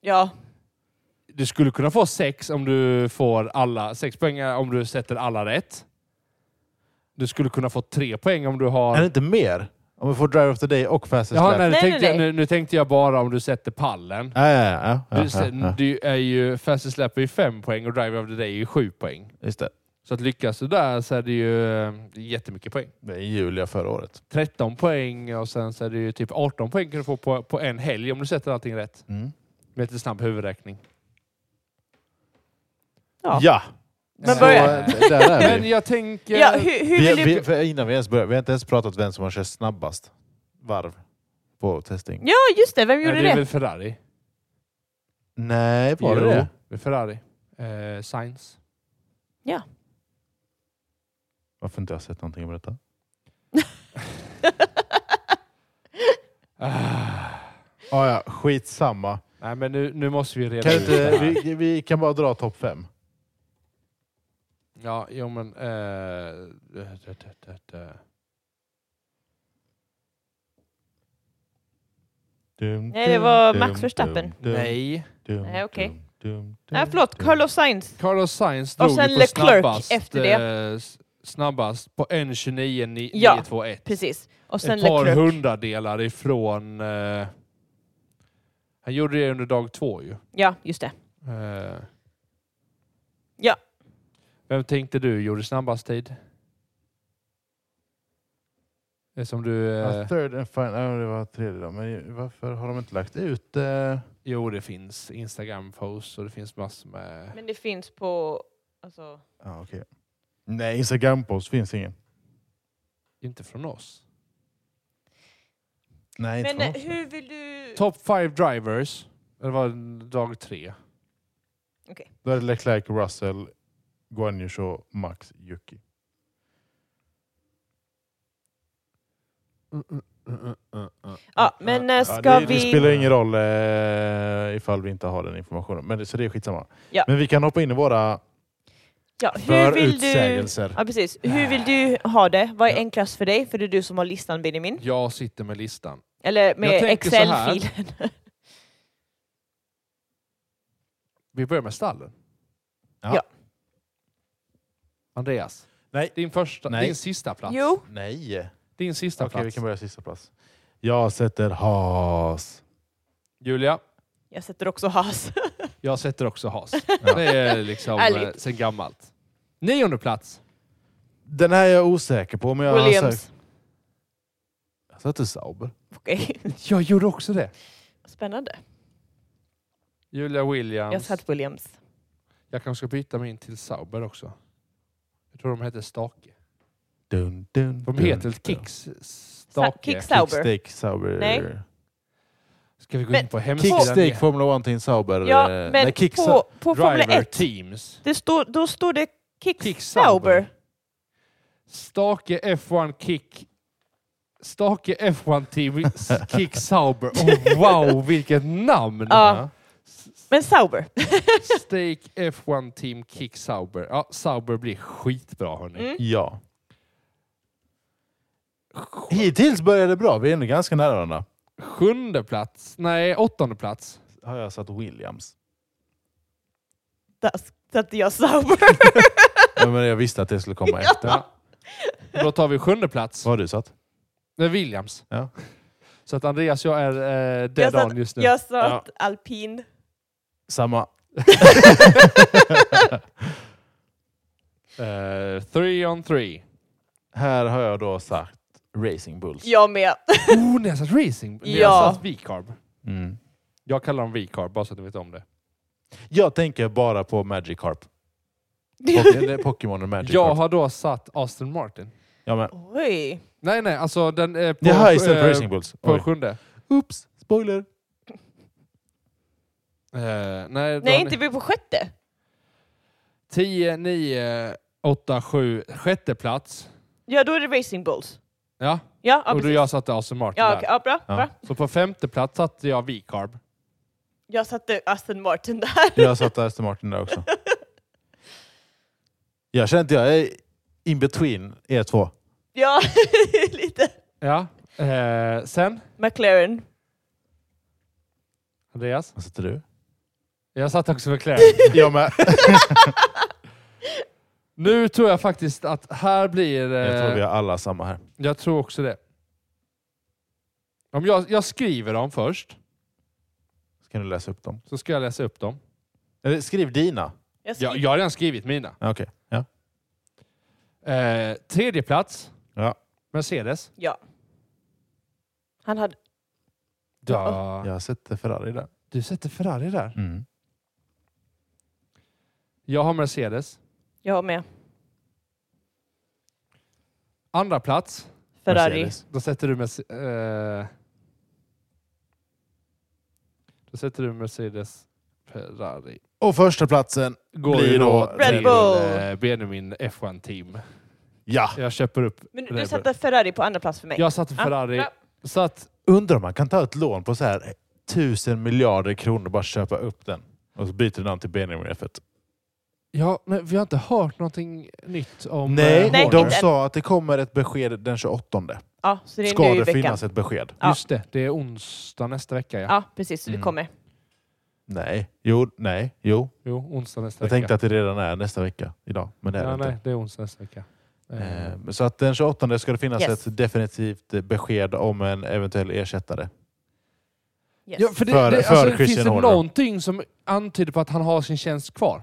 Ja,
Du skulle kunna få sex om du får alla sex poäng eh, om du sätter alla rätt. Du skulle kunna få tre poäng om du har...
Är det inte mer? Om vi får driver of the day och fastest
Jaha,
lap.
nej, nu,
Nej,
tänkte
nej,
Jag,
nej.
nu, nu tänkte jag bara om du sätter pallen.
Ja, ja, ja, ja,
Du,
ja, ja,
du är ju, fastest lap är ju fem poäng och driver of the day är ju sju poäng.
Just det.
Så att lyckas du där så är det ju eh, jättemycket poäng.
Det är Julia förra året.
13 poäng och sen så är det ju typ 18 poäng kan du få på, på en helg om du sätter allting rätt.
Mm.
Med lite snabb huvudräkning.
Ja.
Ja!
Men
Så,
börja.
eh, Där är
Men
vi.
jag tänker...
ja hur, hur
vi,
vill du...
vi för innan vi ens börjar, vi har inte ens pratat vem som har kört snabbast varv på testing.
Ja, just det. Vem gjorde
Nej, det är
det?
väl Ferrari?
Nej, var det
Jo,
det?
är Ferrari. Eh, Sainz.
Varför inte jag har sett någonting om detta? Ah, ja, skitsamma.
Nej, men nu, nu måste vi reda
Kan
ut det
inte,
här.
vi, vi kan bara dra topp fem.
Ja, jo men... eh, dö, dö, dö, dö, dö.
Dum,
Nej, det var
dum,
Max
dum,
Verstappen.
dum,
Nej.
dum,
Nej, okej.
dum, dum,
Nej,
dum,
förlåt.
dum.
Carlos Sainz.
Carlos Sainz
Och
drog
sen
ju på
Leclerc
snabbast,
efter
eh, s- snabbast på 1.29.921.
Ja, Precis. Och sen
Ett par
Leclerc.
hundradelar ifrån... eh, han gjorde det under dag två ju.
Ja, just det.
Eh,
Ja.
Vem tänkte du gjorde snabbast tid? Det är som du...
Ja,
eh,
third and final. Ja, det var tredje då. Men varför har de inte lagt ut... Eh,
jo, det finns Instagram-posts och det finns massor med...
Men det finns på... Alltså...
Ja, okej. Nej, Instagram-post finns ingen.
Inte från oss.
Nej,
Men
inte
eh,
från oss.
hur vill du...
Top five drivers. Det var dag tre.
Då är det Leclerc, Russell, Guanyusho, Max, Yuki.
Ja, men eh,
Ja,
ska
det, det
vi...
spelar ingen roll eh, ifall vi inte har den informationen. Men det, så det är skitsamma.
Ja.
Men vi kan hoppa in i våra
Ja, hur vill du...
förutsägelser.
Ja, precis. Hur vill du ha det? Vad är
Ja.
enklast för dig? För det är du som har listan, Benjamin.
Jag sitter med listan.
Eller med
Jag tänker så här.
Excel-filen.
Vi börjar med stallen.
Ja.
Ja.
Andreas,
Nej.
din, första,
Nej.
din sista plats.
Jo,
Nej.
Din sista
Okej, vi
plats.
kan börja sista plats. Jag sätter Haas.
Julia,
jag sätter också has.
Jag sätter också has.
Ja.
Det är liksom eh,
Ärligt.
sen gammalt. Nionde plats.
Den här är jag osäker på. Men jag har sagt-
Williams.
Jag satte Sauber.
Okej,
Jag gjorde också det.
spännande.
Julia Williams.
Jag
Jag,
satt Williams.
kanske ska byta min till Sauber också. Jag tror de heter Stake.
Dun, dun,
De
dun,
heter
dun.
Kicks
Sa-
Stake.
Kick Sauber.
Kickstake Sauber.
Nej.
Ska vi gå
Men-
in på
Kickstake
hemsidan?
Formel
igen?
Formula 1 Team Sauber.
Ja,
eh,
men
nej, Kick Sau-
på, på Formel
Driver
1,
Teams.
det står, då står det Kick,
Kick
Sauber.
Stake F1 Kick. Stake F1 Team Kick Sauber. Oh, wow, vilket namn!
Ja. Men Sauber.
Stake F1 Team Kick Sauber. Ja, Sauber blir skitbra hörni.
Mm.
Ja. Hittills började det bra. Vi är ändå ganska nära varandra.
Sjunde plats. Nej, åttonde plats.
Har jag satt Williams.
Där satte jag Sauber.
Ja, Men jag visste att det skulle komma efter.
Ja. Då tar vi sjunde plats.
Vad har du satt?
Nej, Williams.
Ja.
Så att Andreas, jag är eh,
Jag
dead
satt,
on just nu.
jag satt alpin.
Samma.
Eh, three on three.
Här har jag då sagt Racing Bulls.
Jag med.
Oh, ni har satt racing. Ni har
Ja.
satt V-carb.
Mm.
Jag kallar dem V-carb, bara så att ni vet om det.
Jag tänker bara på Magic Carp. Pok- Pokémon och Magic
Jag
Carp.
har då satt Aston Martin.
Ja, men.
Oj.
Nej, nej, alltså den är på,
Jaha, istället för
eh,
Racing Bulls.
på
Oj.
sjunde.
Oops, spoiler.
Eh, nej, då har
Nej,
ni-
inte vi på sjätte.
10, 9, 8, 7, sjätte plats.
Ja, då är det Racing Bulls.
Ja,
Ja, ja
och då
precis.
jag satte Aston Martin
Ja,
där.
okej. ja, bra,
Ja.
bra.
Så på femte plats satte jag V-carb.
Jag satte Aston Martin där.
Jag satt Aston Martin där också. Jag känner inte jag är in between er två.
Ja, lite.
Ja. Eh, sen,
McLaren.
Andreas?
Vad sätter du?
Jag satt också McLaren.
Jag med.
nu tror jag faktiskt att här blir... Eh,
Jag tror vi har alla samma här.
Jag tror också det. Om jag, jag skriver dem först,
Så kan du läsa upp dem.
så ska jag läsa upp dem.
Eller skriv dina.
Jag
Jag,
skrev,
jag har redan skrivit mina.
Ja, Okej. Ja.
Eh, tredje plats,
Ja.
Mercedes.
Han hade...
Ja.
Jag sätter Ferrari där.
Du sätter Ferrari där.
Mm.
Jag har Mercedes.
Jag med.
Andra plats,
Ferrari.
Mercedes.
då sätter du Mercedes... Eh, då sätter du Mercedes Ferrari.
Och första platsen
Går
Blir
ju då
då
Red
till,
Bull.
eh, Benjamin F1 Team.
Ja.
Jag köper upp.
Men
Red Bull.
du satte Ferrari på andra plats för mig.
Jag satte
Ah, Ja,
Ferrari.
bra.
satt
Undrar om man kan ta ett lån på så här tusen miljarder kronor och bara köpa upp den. Och så byter du namn till Benjamin F1.
Ja, men vi har inte hört någonting nytt om...
Nej,
eh,
Nej,
de
Horner.
inte.
sa att det kommer ett besked den 28.
Ja, så det är
Ska
nu i
det
veckan.
finnas ett besked?
Ja.
Just det, det är onsdag nästa vecka. Ja.
Ja, precis. Så det
Mm.
kommer.
Nej. Jo, nej, jo.
Jo, onsdag nästa
Jag
vecka.
tänkte att det redan är nästa vecka idag, men det är det
ja,
inte.
nej, det är onsdag nästa vecka. Eh,
Eh, Så att den 28 ska det finnas
Yes.
ett definitivt eh, besked om en eventuell ersättare.
Yes.
Ja, för det,
För-
det,
för
alltså,
Christian
finns det
Horner.
någonting som antyder på att han har sin tjänst kvar?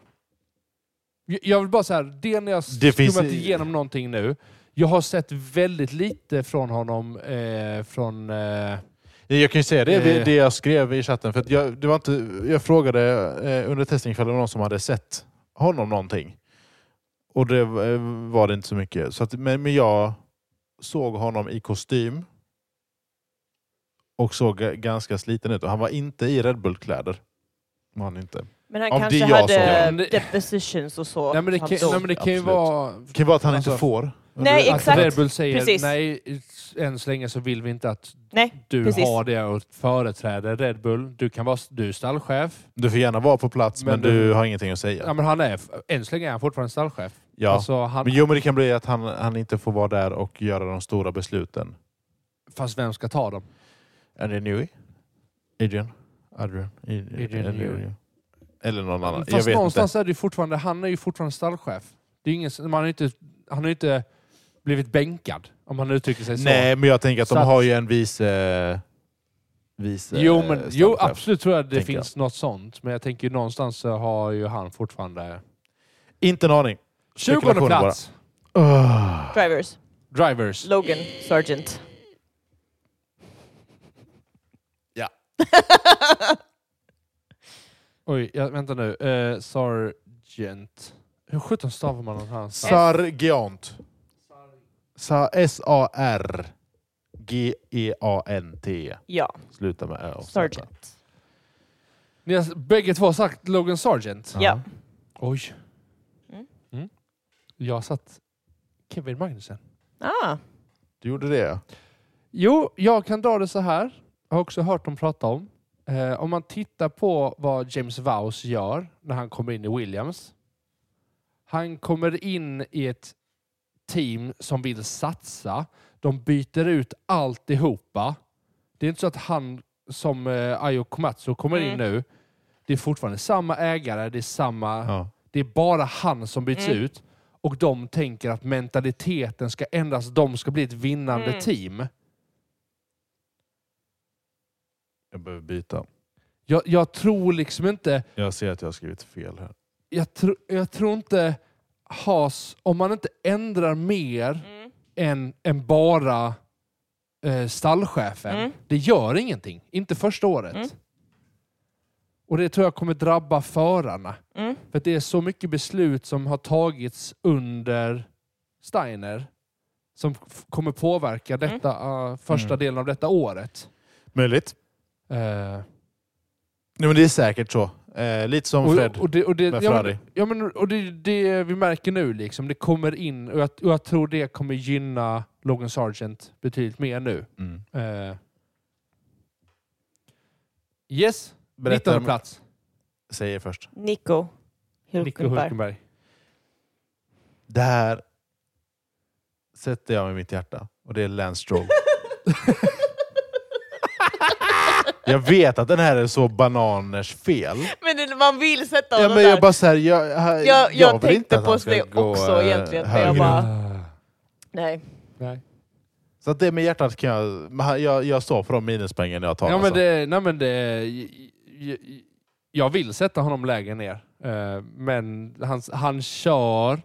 Jag- Jag vill bara säga, det när jag
Det
skummat
finns-
igenom någonting nu, jag har sett väldigt lite från honom eh, från... Eh,
Jag kan ju säga det,
Eh.
det jag skrev i chatten. För att jag, det var inte, jag frågade eh, under testningen ifall det var någon som hade sett honom någonting. Och det eh, var det inte så mycket. Så att, men, men jag såg honom i kostym och såg g- ganska sliten ut. Och han var inte i Red Bull-kläder. Var han inte.
Men han
om det
kanske
är jag som-
Ja,
hade eh,
men det-
depositions och så.
nej, men det kan,
Han dog.
nej, men det kan ju
Absolut.
vara...
Det kan ju vara att han
Alltså-
inte får. Under-
Nej,
Alltså,
exakt.
Att Red Bull säger
Precis.
nej, än så länge så vill vi inte att
Nej,
du
precis.
har det och företräder Red Bull. Du kan vara du är stallchef.
Du får gärna vara på plats, men,
Men
du,
du-
har ingenting att säga.
Ja, men han är, än så länge är han fortfarande stallchef.
Ja.
Alltså, han,
Men jo, men det kan bli att han, han inte får vara där och göra de stora besluten.
Fast vem ska ta dem?
Är det Newey? Adrian? Adrian? I-
Adrian
eller-
Newey.
Eller någon annan. jag
Fast
vet
någonstans är det ju fortfarande, han är ju fortfarande stallchef. Det är ingen, man har ju inte, han har ju inte blivit bänkad, om han uttrycker sig
inte.
så.
Nej, men jag tänker att
Så
de
att-
har ju en vice, rättvis eh,
Jo, men, jo
standardkraft.
absolut tror jag det
tänker
finns något sånt. Men jag tänker ju någonstans så har ju han fortfarande...
Inte en aning.
20
Spekulationer
plats!
Öh.
Drivers.
Drivers.
Logan Sargent.
Ja.
Oj, ja, vänta nu. Eh, Sargent. Hur sjutton stavar man den här?
Sargeant. Sa- S-A-R-G-E-A-N-T. E
ja,
Sluta med Ö. och Z.
Sargent.
Ni har s- bägge två sagt Logan Sargent.
Ja.
Ja.
Oj.
Mm.
Mm. Jag har satt Kevin Magnussen.
Ah,
Du gjorde det?
Jo, jag kan dra det så här. Jag har också hört dem prata om. Eh, om man tittar på vad James Vowes gör när han kommer in i Williams. Han kommer in i ett team som vill satsa. De byter ut alltihopa. Det är inte så att han som eh, Ayo Komatsu kommer in
Mm.
nu. Det är fortfarande samma ägare, det är samma...
Ja.
Det är bara han som byts
Mm.
ut och de tänker att mentaliteten ska ändras. De ska bli ett vinnande
Mm.
team.
Jag behöver byta.
Jag, jag tror liksom inte...
Jag ser att jag har skrivit fel här.
Jag, tr, jag tror inte Haas... Om man inte ändrar mer
mm.
än, än bara eh, stallchefen,
Mm.
det gör ingenting. Inte första året.
Mm.
Och det tror jag kommer drabba förarna.
Mm.
För att det är så mycket beslut som har tagits under Steiner som f- kommer påverka
Mm.
detta, eh, första
Mm.
delen av detta året.
Möjligt.
Eh,
Nej, men det är säkert så. Eh, lite som Fred.
och, och det, och det,
med
ja,
Ferrari.
men, ja, men, och det, det vi märker nu, liksom, det kommer in och jag, och jag tror det kommer gynna Logan Sargent betydligt mer nu.
Mm.
Eh, yes,
Berätta
19
om...
plats.
Säg er först.
Nico
Nico
Hulkenberg.
Hulkenberg.
Det här sätter jag med mitt hjärta. Och det är Lance Stroll. jag vet att den här är så bananers fel.
Men det- man vill sätta
Ja,
honom
men
där.
jag bara så här, jag, jag,
jag
vill
tänkte
inte att
på
han ska
det
gå,
också
eh,
egentligen, men jag
högre.
bara-
Ah,
Nej.
nej.
Så att det med hjärtat kan jag... men han- Jag, jag står för de minuspoängen jag tar.
Ja, men
alltså.
det, nej, men det, j- j- jag vill sätta honom lägre ner. Eh, Men han, han kör...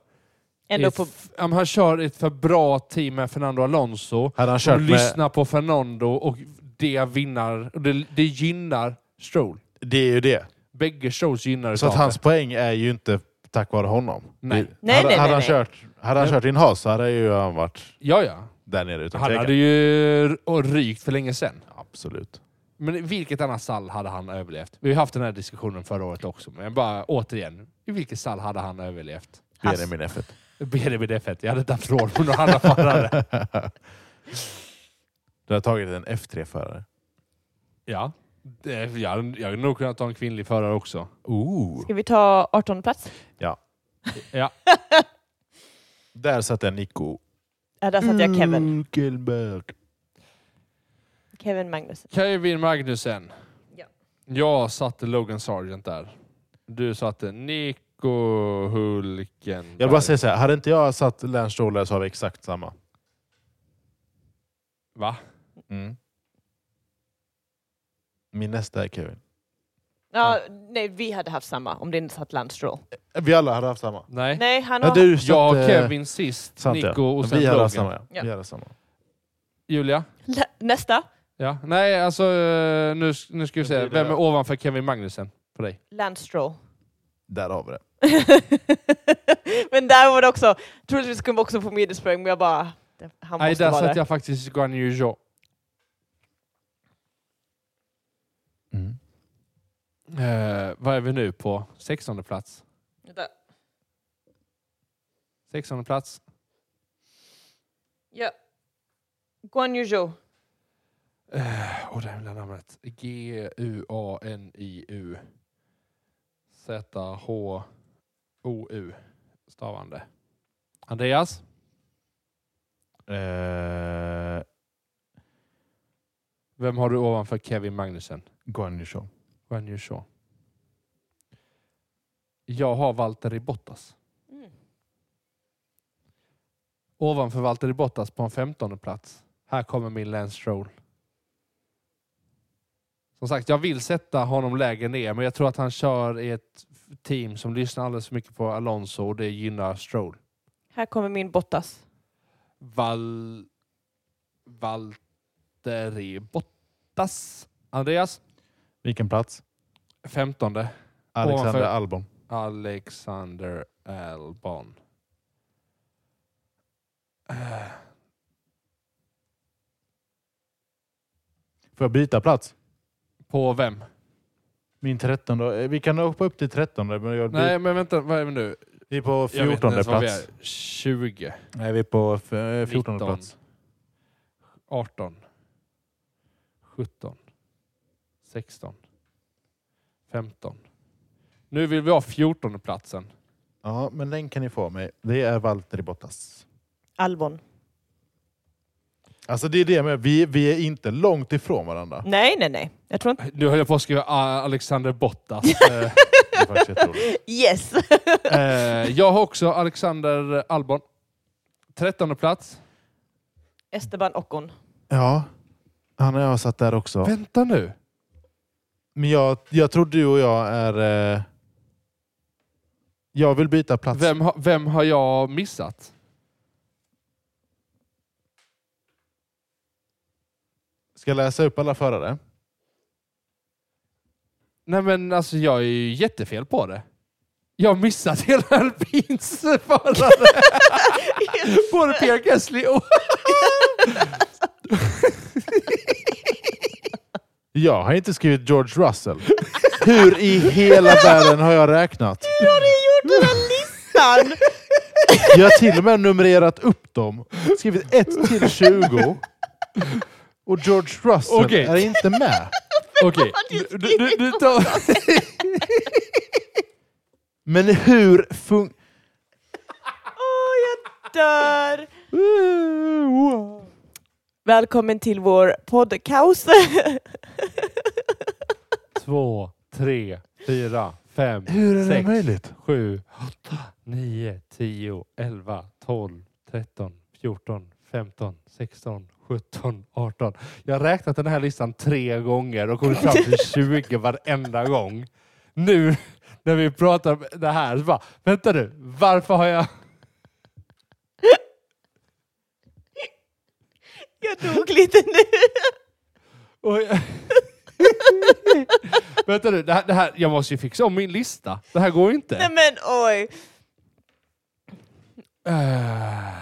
Ändå
ett,
på...
ja, men han kör ett för bra team med Fernando Alonso.
Hade han
Och
kört med...
lyssnar på Fernando och det vinnar... och Det, det gynnar Stroll.
Det är ju det.
Bägge Strolls gynnar
Så att
utav
hans poäng är ju inte tack vare honom.
Nej.
Det,
Nej,
hade,
nej, nej,
hade han
nej.
kört, hade han
Nej.
kört in Haas så hade ju han varit
det. Ja, ja.
där nere utan
Han
tvekan.
hade ju r- och rykt för länge sedan.
Absolut.
Men i vilket annat stall hade han överlevt? Vi har haft den här diskussionen förra året också, men bara återigen. I vilket stall hade han överlevt?
Haas.
Benjamin F1.
BDB F1. Jag hade inte haft råd med någon annan förare.
Du har tagit en F3-förare.
Ja. Det, jag, hade- jag hade nog kunnat ta en kvinnlig förare också.
Ooh.
Ska vi ta 18 plats?
Ja.
Där satt jag Nico.
Ja, där satte jag
Mm.
Kevin.
Hulkenberg.
Kevin Magnusson.
Kevin Magnussen.
Ja.
Jag satte Logan Sargent där. Du satte Nico Hulken.
Jag vill bara säger så här, hade inte jag satt Lance Stroll där så har vi exakt samma.
Va? Mm.
Min nästa är Kevin.
Ja, nej, vi hade haft samma om det inte satt Landstraw.
Eh, Vi alla hade haft samma.
Nej.
Nej, han
Ja,
har...
du
Jag
satt, eh,
Kevin sist,
satt jag.
Nico och sen
Vi hade
Logan.
haft samma. Ja.
Ja.
Vi hade haft samma.
Julia?
Lä- Nästa.
Ja. Nej, alltså eh, nu, nu ska vi
Det
se.
blir det.
Vem är ovanför Kevin Magnussen för dig?
Landstraw.
Där har vi det.
men där var det också... Troligtvis skulle man också få minuspoäng, men jag bara... Han
Nej,
måste
där
vara
satte
där.
jag faktiskt Guan Yu Zhou. Mm. Eh, vad är vi nu på? 16 plats.
Där.
16 plats.
Ja. Guan Yu Zhou.
Åh, det himla namnet. G-U-A-N-I-U. Z-H-O-U. Stavande. Andreas?
Eh,
Vem har du ovanför Kevin Magnussen?
Guan Yu Zhou.
Guan Yu Zhou. Jag har Valtteri Bottas.
Mm.
Ovanför Valtteri Bottas på en 15 plats. Här kommer min Lance Stroll. Som sagt, jag vill sätta honom lägre ner, men jag tror att han kör i ett team som lyssnar alldeles för mycket på Alonso och det gynnar Stroll.
Här kommer min Bottas.
Val... Valtteri Bottas. Andreas?
Vilken plats?
15.
Alexander
Ovanför-
Albon.
Alexander Albon. Eh,
Får jag byta plats?
På vem?
Min trettonde. eh, Vi kan hoppa upp till trettonde. Men jag
Nej, men vänta. Vad är vi nu?
Vi är på
Jag vet inte
fjortonde
ens vad vi
plats.
är. 20.
Nej, vi är på f- eh, fjortonde
19.
plats.
18. 17. 16. 15. Nu vill vi ha 14 platsen.
Ja, men den kan ni få av mig. Det är Valtteri Bottas.
Albon.
Alltså det är det med, vi, vi är inte långt ifrån varandra.
Nej, nej, nej. Jag tror inte...
Nu höll jag på att skriva ah, Alexander Bottas. Eh,
Det är faktiskt jätteroligt.
Yes!
eh, jag har också Alexander Albon. 13 plats.
Esteban Ocon.
ja, han har jag satt där också.
Vänta nu.
Men jag, jag tror du och jag är... Eh, jag vill byta plats.
Vem, har- vem har jag missat?
Ska jag läsa upp alla förare?
Nej men alltså jag är ju jättefel på det. Jag har missat hela alpins förare. Både Pierre Gasly och...
Jag har inte skrivit George Russell. Hur i hela världen har jag räknat?
Hur har du gjort den här listan?
Jag har till och med numrerat upp dem. Skrivit 1 till 20. Och George Russell
Okej.
är inte med.
Okej, du, du, du, du tar...
Men hur fun...
Åh, jag dör! Välkommen till vår podd Kaos.
Två, tre, fyra, fem,
Hur är det
sex,
möjligt?
sju, åtta, nio, tio, elva, tolv, tretton, fjorton, femton, sexton, sjutton, arton. Jag har räknat den här listan tre gånger och kommit fram till 20 varenda gång. Nu när vi pratar om det här, så bara, vänta nu, varför har jag...
Jag dog lite nu.
Oj. Vänta nu, det här, det här, jag måste ju fixa om min lista. Det här går ju inte.
Nej men oj.
Eh,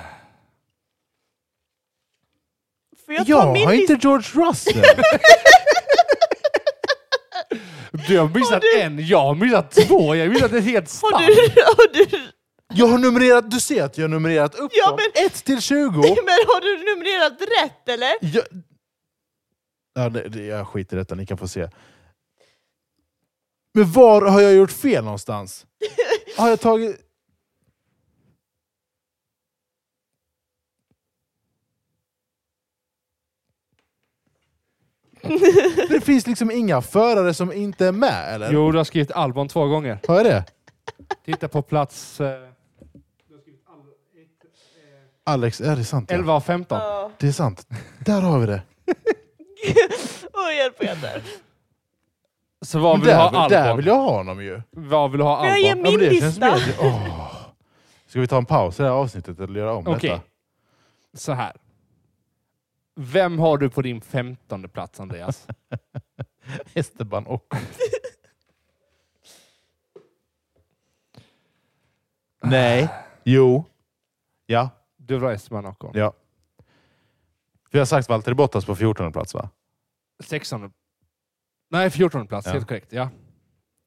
Får jag ta
Jag
min
har
lista?
inte George Russell.
Du har missat
Har du-
en, jag har missat två, jag har missat ett helt
Har
spann.
du, har du,
Jag har numrerat, du ser att jag har numrerat upp
Ja,
dem.
men-
1 till 20.
men har du numrerat rätt eller?
Jag... Ja, det, det, jag skiter i detta, ni kan få se. Men var har jag gjort fel någonstans? Har jag tagit... Det finns liksom inga förare som inte är med, eller?
Jo, du har skrivit Albon två gånger.
Har jag det?
Titta på plats eh,
Alex, ja, det är sant. Ja.
11 och 15.
Ja.
Det är sant. Där har vi det.
Oj, hjälp jag dör.
Så vad vill du ha
Där,
Albon?
där vill jag ha honom ju.
Vad vill du ha
Får jag ge
Albon?
min
men det känns
lista?
mer- Åh. Ska vi ta en paus i det här avsnittet eller göra om
Okej.
detta?
Så här. Vem har du på din femtonde plats, Andreas?
Esteban och... Nej. Jo. Ja.
Du vill ha Esteban Ocon.
ja. För jag har sagt Valtteri Bottas på 14 plats va?
Sextonde... Nej, fjortonde plats.
Ja.
Helt korrekt. Ja.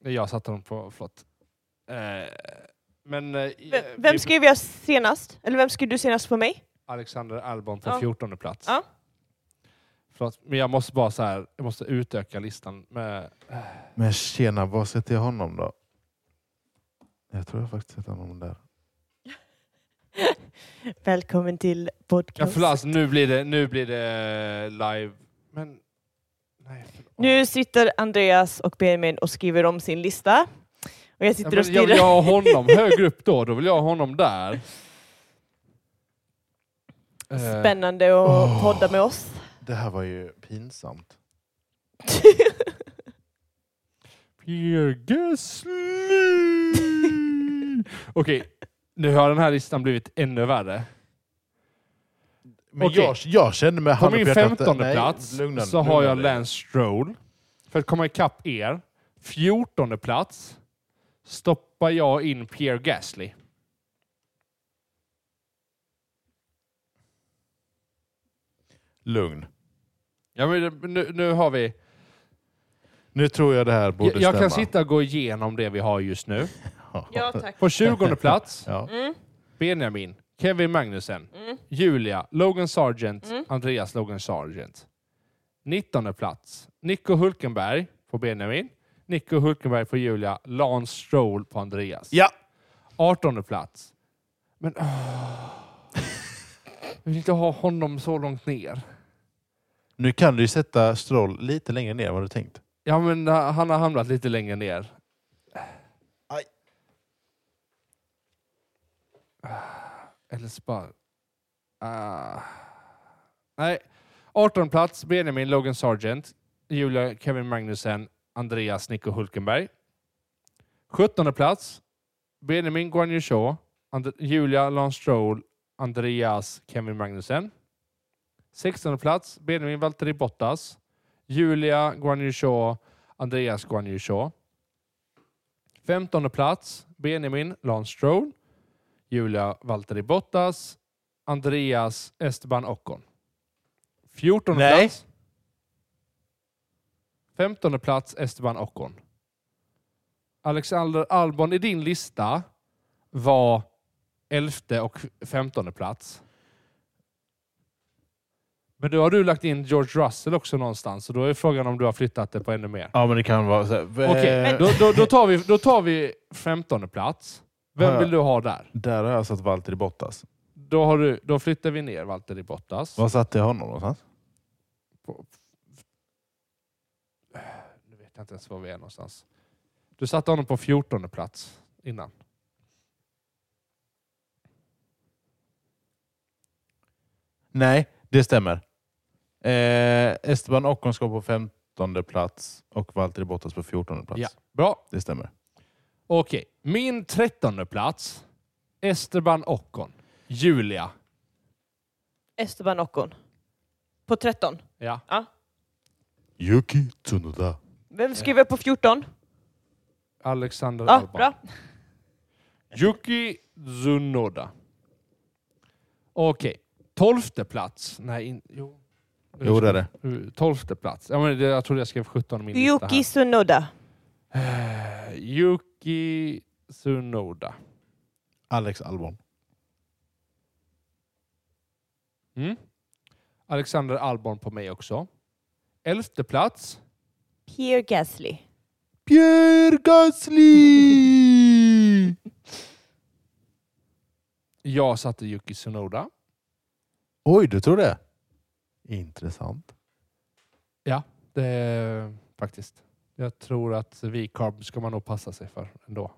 Jag satte dem på flott. Eh, men... eh,
Vem,
vi-
vem skrev jag senast? Eller vem skrev du senast på mig?
Alexander Albon på
Ja.
14 plats.
Ja.
Förlåt, men jag måste bara så här, jag måste utöka listan med...
Men tjena, var sätter jag honom då? Jag tror jag faktiskt sätter honom där.
Välkommen till
Ja,
podcast.
förlåt, alltså, nu blir det, nu blir det live. Men... Nej, förlåt.
Nu sitter Andreas och Benjamin och skriver om sin lista. Och jag
ja,
sitter och
men jag
stirrar.
vill ha honom högre upp då, då vill jag ha honom där. Eh,
Spännande att
Åh.
podda med oss.
Det här var ju pinsamt.
Pegasly! Okej, nu har den här listan blivit ännu värre.
Men
Okej.
jag, jag känner med
På
handen
min
på hjärtat att-
15
nej,
plats
lugna-
så har
lugna
jag
dig.
Lance Stroll. För att komma ikapp er, 14 plats stoppar jag in Pierre Gasly.
Lugn.
Ja, men nu, nu har vi...
Nu tror jag det här borde
Jag, jag
stämma.
kan sitta och gå igenom det vi har just nu.
Ja, tack.
På 20 plats,
Ja.
Mm,
Benjamin, Kevin Magnussen,
mm.
Julia, Logan Sargent,
Mm.
Andreas Logan Sargent. 19 plats, Nico Hulkenberg på Benjamin, Nico Hulkenberg på Julia, Lance Stroll på Andreas.
ja.
18 plats. Men åh. Jag vill inte ha honom så långt ner.
Nu kan du ju sätta Stroll lite längre ner än vad du tänkt.
Ja, men ha- han har hamnat lite längre ner.
Aj.
Eller så bara... Ah. Nej. 18 plats, Benjamin Logan Sargent, Julia Kevin Magnussen, Andreas Nico Hulkenberg. 17 plats, Benjamin Guan Yu Zhou, And- Julia Lance Stroll, Andreas Kevin Magnussen. 16 plats, Benjamin Valtteri Bottas, Julia Guan Yu Zhou, Andreas Guan Yu Zhou. 15 plats, Benjamin Lance Stroll, Julia Valtteri Bottas, Andreas Esteban Ocon. 14
Nej.
plats. 15 plats, Esteban Ocon. Alexander Albon i din lista var 11 och 15 plats. Men då har du lagt in George Russell också någonstans, så då är frågan om du har flyttat det på ännu mer.
Ja, men det kan vara så här. v-
Okej,
eh,
då, då, då, tar vi, då tar vi 15 plats.
Ja,
Vem
ja.
vill du ha där?
Där har jag satt Valtteri Bottas.
Då, har du, då flyttar vi ner Valtteri Bottas.
Var satte jag honom någonstans?
På- Nu vet jag inte ens var vi är någonstans. Du satte honom på 14 plats innan.
Nej, det stämmer. Eh, Esteban Ocon ska på 15 plats och Valtteri Bottas på 14 plats.
Ja, bra.
Det stämmer.
Okej, min trettonde plats. Esteban Ocon. Julia.
Esteban Ocon. På 13.
Ja.
Yuki Tsunoda.
Vem skriver på 14?
Alexander
Ja,
Albon.
bra.
Yuki Tsunoda. Okej, tolfte plats. Nej, in, jo.
Jo, det är det.
Tolfte plats. Ja, men det, jag trodde jag skrev 17 i min lista
Yuki Sunoda.
här. Yuki Tsunoda.
Alex Albon.
Mm. Alexander Albon på mig också. Elfte plats.
Pierre Gasly.
Pierre Gasly!
Jag satte Yuki Tsunoda.
Oj, du tror det? Intressant.
Det är, faktiskt. Jag tror att V-carb ska man nog passa sig för ändå.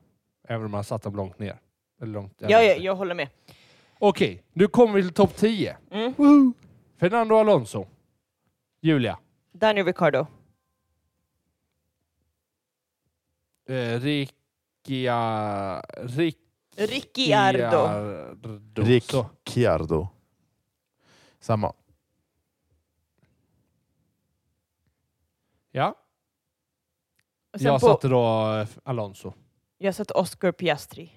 Även om man har satt dem långt ner. Eller långt, jag
Ja,
vet
ja,
inte.
jag håller med.
Okej, nu kommer vi till topp 10.
Mm.
Fernando Alonso. Julia.
Daniel Ricciardo.
Eh, Riccia...
Ricciardo.
Ricciardo.
Rick
Så.
Chiardo. Samma.
Ja,
Och Sen
jag
på,
satte då eh, Alonso.
jag satte Oscar Piastri.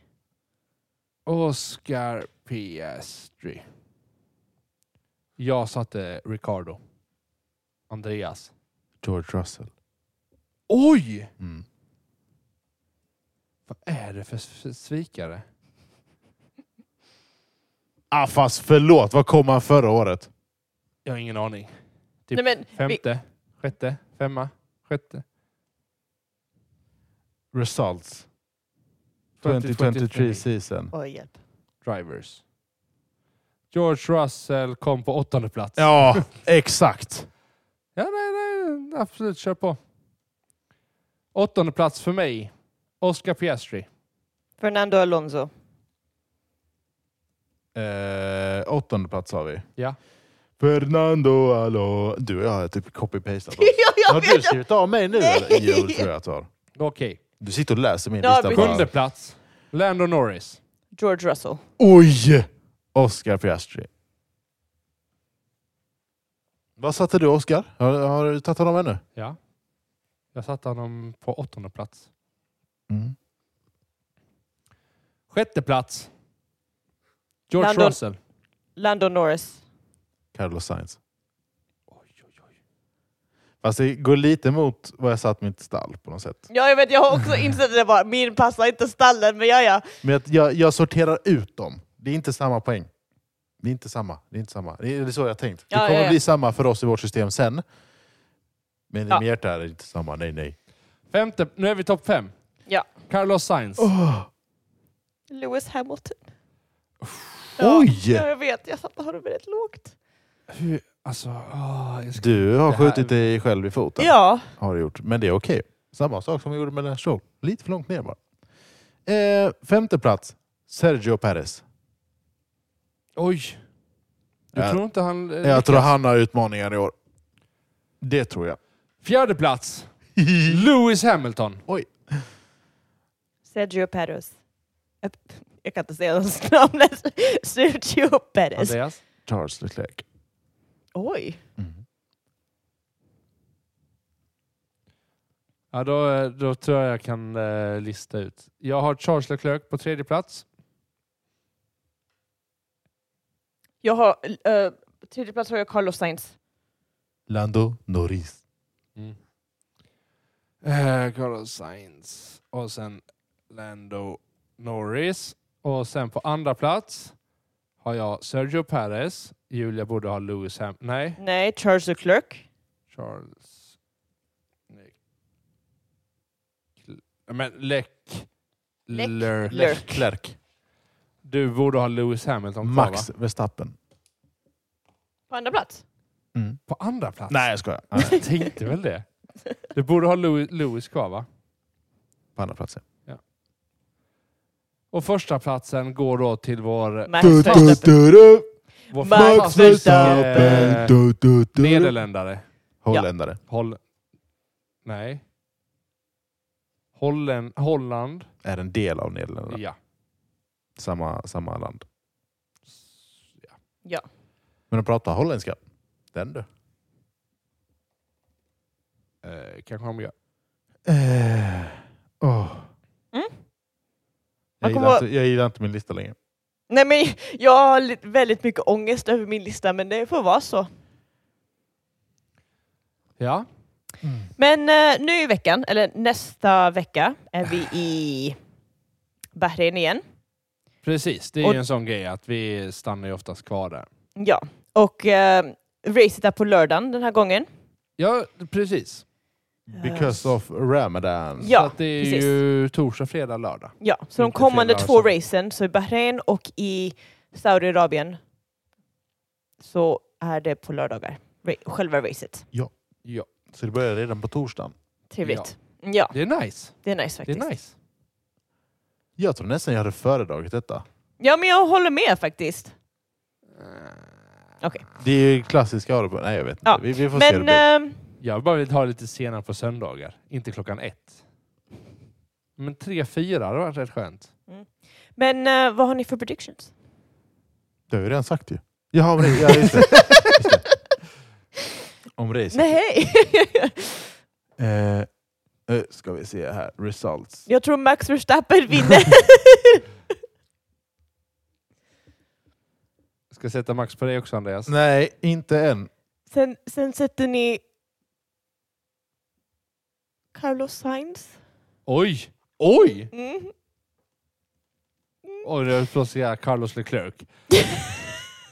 Oscar Piastri. Jag satte Ricardo. Andreas.
George Russell.
Oj!
Mm.
Vad är det för s- svikare?
Ah, fast förlåt, vad kom han förra året?
Jag har ingen aning.
Nej,
Typ
men, vi,
Femte, sjätte, femma, sjätte.
Results. 2023 season.
oj, hjälp.
Drivers. George Russell kom på åttonde plats.
Ja, exakt.
Ja, nej, nej, absolut. Kör på. Åttonde plats för mig. Oscar Piastri.
Fernando Alonso.
Eh, åttonde plats har vi.
Ja.
Fernando Alonso. Du och jag har typ copy-pastat oss.
ja,
Har
jag
du
vet!
skrivit av mig nu? eller? Jo, det tror jag att du har.
Okej.
Du sitter och läser min
Ja,
lista.
precis.
Bara.
Sjunde plats. Lando Norris.
George Russell.
Oj! Oscar Piastri. Vad satte du Oscar? Har, har du tagit honom ännu?
Ja. Jag satte honom på åttonde plats.
Mm.
Sjätte plats. George
Lando-
Russell.
Lando Norris.
Carlos Sainz.
Oj, oj, oj.
Fast det går lite emot vad jag satt mitt stall på något sätt.
Ja, jag vet, jag har också insett det bara. Min passar inte stallen, men ja, ja.
Men jag, jag, jag sorterar ut dem. Det är inte samma poäng. Det är inte samma. Det är inte samma. Det är det är så jag har tänkt. Det
Ja,
kommer
ja, ja.
bli samma för oss i vårt system sen. Men i
Ja.
mitt hjärta är det inte samma. Nej, nej.
Femte. Nu är vi topp fem.
Ja.
Carlos Sainz.
Lewis Hamilton.
Oj!
Ja, jag vet. Jag satte honom väldigt lågt.
Hur, alltså, åh, jag ska...
Du har
Det här-
skjutit dig själv i foten.
Ja.
Har du gjort. Men det är okej. Samma sak som vi gjorde med den här show. Lite för långt ner bara. Eh, femte plats. Sergio Perez.
Oj. Du
Ja.
tror inte han... eh,
Jag tror
lyckas?
han har utmaningar i år. Det tror jag.
Fjärde plats. Lewis Hamilton.
Sergio Perez. Jag kan inte säga hans namn. Sergio Perez.
Andreas.
Charles Leclerc.
Oj.
Mm.
Ja, då, eh, då tror jag jag kan eh, lista ut. Jag har Charles Leclerc på tredje plats.
Jag har... Uh, tredje plats har jag Carlos Sainz.
Lando Norris. Mm.
Eh, Carlos Sainz. Och sen Lando Norris. Och sen på andra plats har jag Sergio Perez. Julia borde ha Lewis Ham... Nej.
Nej, Charles Leclerc.
Charles... Nej. Men Lek...
Lek- Ler-
Ler-
Leclerc.
Du borde ha Lewis Hamilton kvar,
Max
va?
Verstappen.
På andra plats.
Mm.
På andra plats?
Nej, jag skojar.
Jag tänkte väl det. Du borde ha Lewis, Lewis kvar, va?
På andra platsen.
Och första platsen går då till vår...
Max Verstappen.
vår
Max
fantastiska,
Verstappen.
eh, Nederländare.
Holländare.
Holl... Nej. Hollen... Holland.
Är en del av Nederländerna.
Ja.
Samma, samma land.
ja.
Men de pratar holländska. Den du.
Eh, kanske de gör.
Eh, åh.
Mm.
Jag,
Man
gillar
kommer-
inte, jag gillar inte min lista längre.
Nej, men jag har li- väldigt mycket ångest över min lista, men det får vara så.
Ja.
Mm.
Men eh, nu i veckan, eller nästa vecka, är vi i Bahrain igen.
Precis. Det är
Och-
ju en sån grej att vi stannar ju oftast kvar där.
Ja, och eh, racet är på lördagen den här gången.
Ja, precis.
Because of Ramadan.
Ja,
Så att det är
precis.
ju torsdag, fredag, lördag.
Ja, så de
Inte
kommande
fel
två
alltså.
racen, så i Bahrain och i Saudiarabien, så är det på lördagar, ra- själva racet.
Ja.
Så det börjar redan på torsdagen.
Trevligt. Ja,
Det är nice.
det är nice
Det
faktiskt.
är nice.
Jag tror nästan jag hade föredragit detta.
Ja, men jag håller med faktiskt. Okej.
Det är ju klassiska Arbo. Nej, jag vet inte.
Ja,
Vi, vi får se hur det
Men
blir.
eh,
Jag vill bara vill ha lite senare på söndagar. Inte klockan ett. Men tre, fyra hade varit rätt skönt.
men eh, vad har ni för predictions?
Det har vi redan sagt ju. Jaha, om det. Ja, just det. Just det. Om racet.
Nej,
Eh, eh, ska vi se här. Results.
jag tror Max Verstappen vinner.
Ska jag sätta max på dig också Andreas?
Nej, inte än.
sen, sen sätter ni Carlos Sainz.
Oj! Oj!
Mm.
Oj, nu plötsligt jag Carlos Leclerc.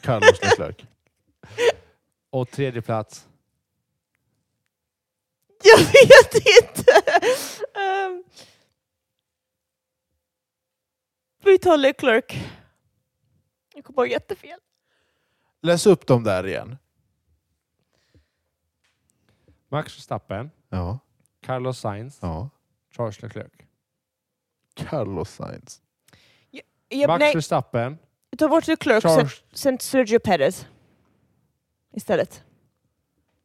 Carlos Leclerc.
Och tredje plats.
Jag vet inte. Ehm. vi tar Leclerc. Jag kommer ihåg jättefel.
Läs upp dem där igen.
Max Verstappen,
Ja.
Carlos Sainz,
ja.
Charles Leclerc.
Carlos Sainz.
Jag,
Max
nej,
Verstappen,
ta bort Leclerc sen,
Charles...
sen Sergio Perez istället.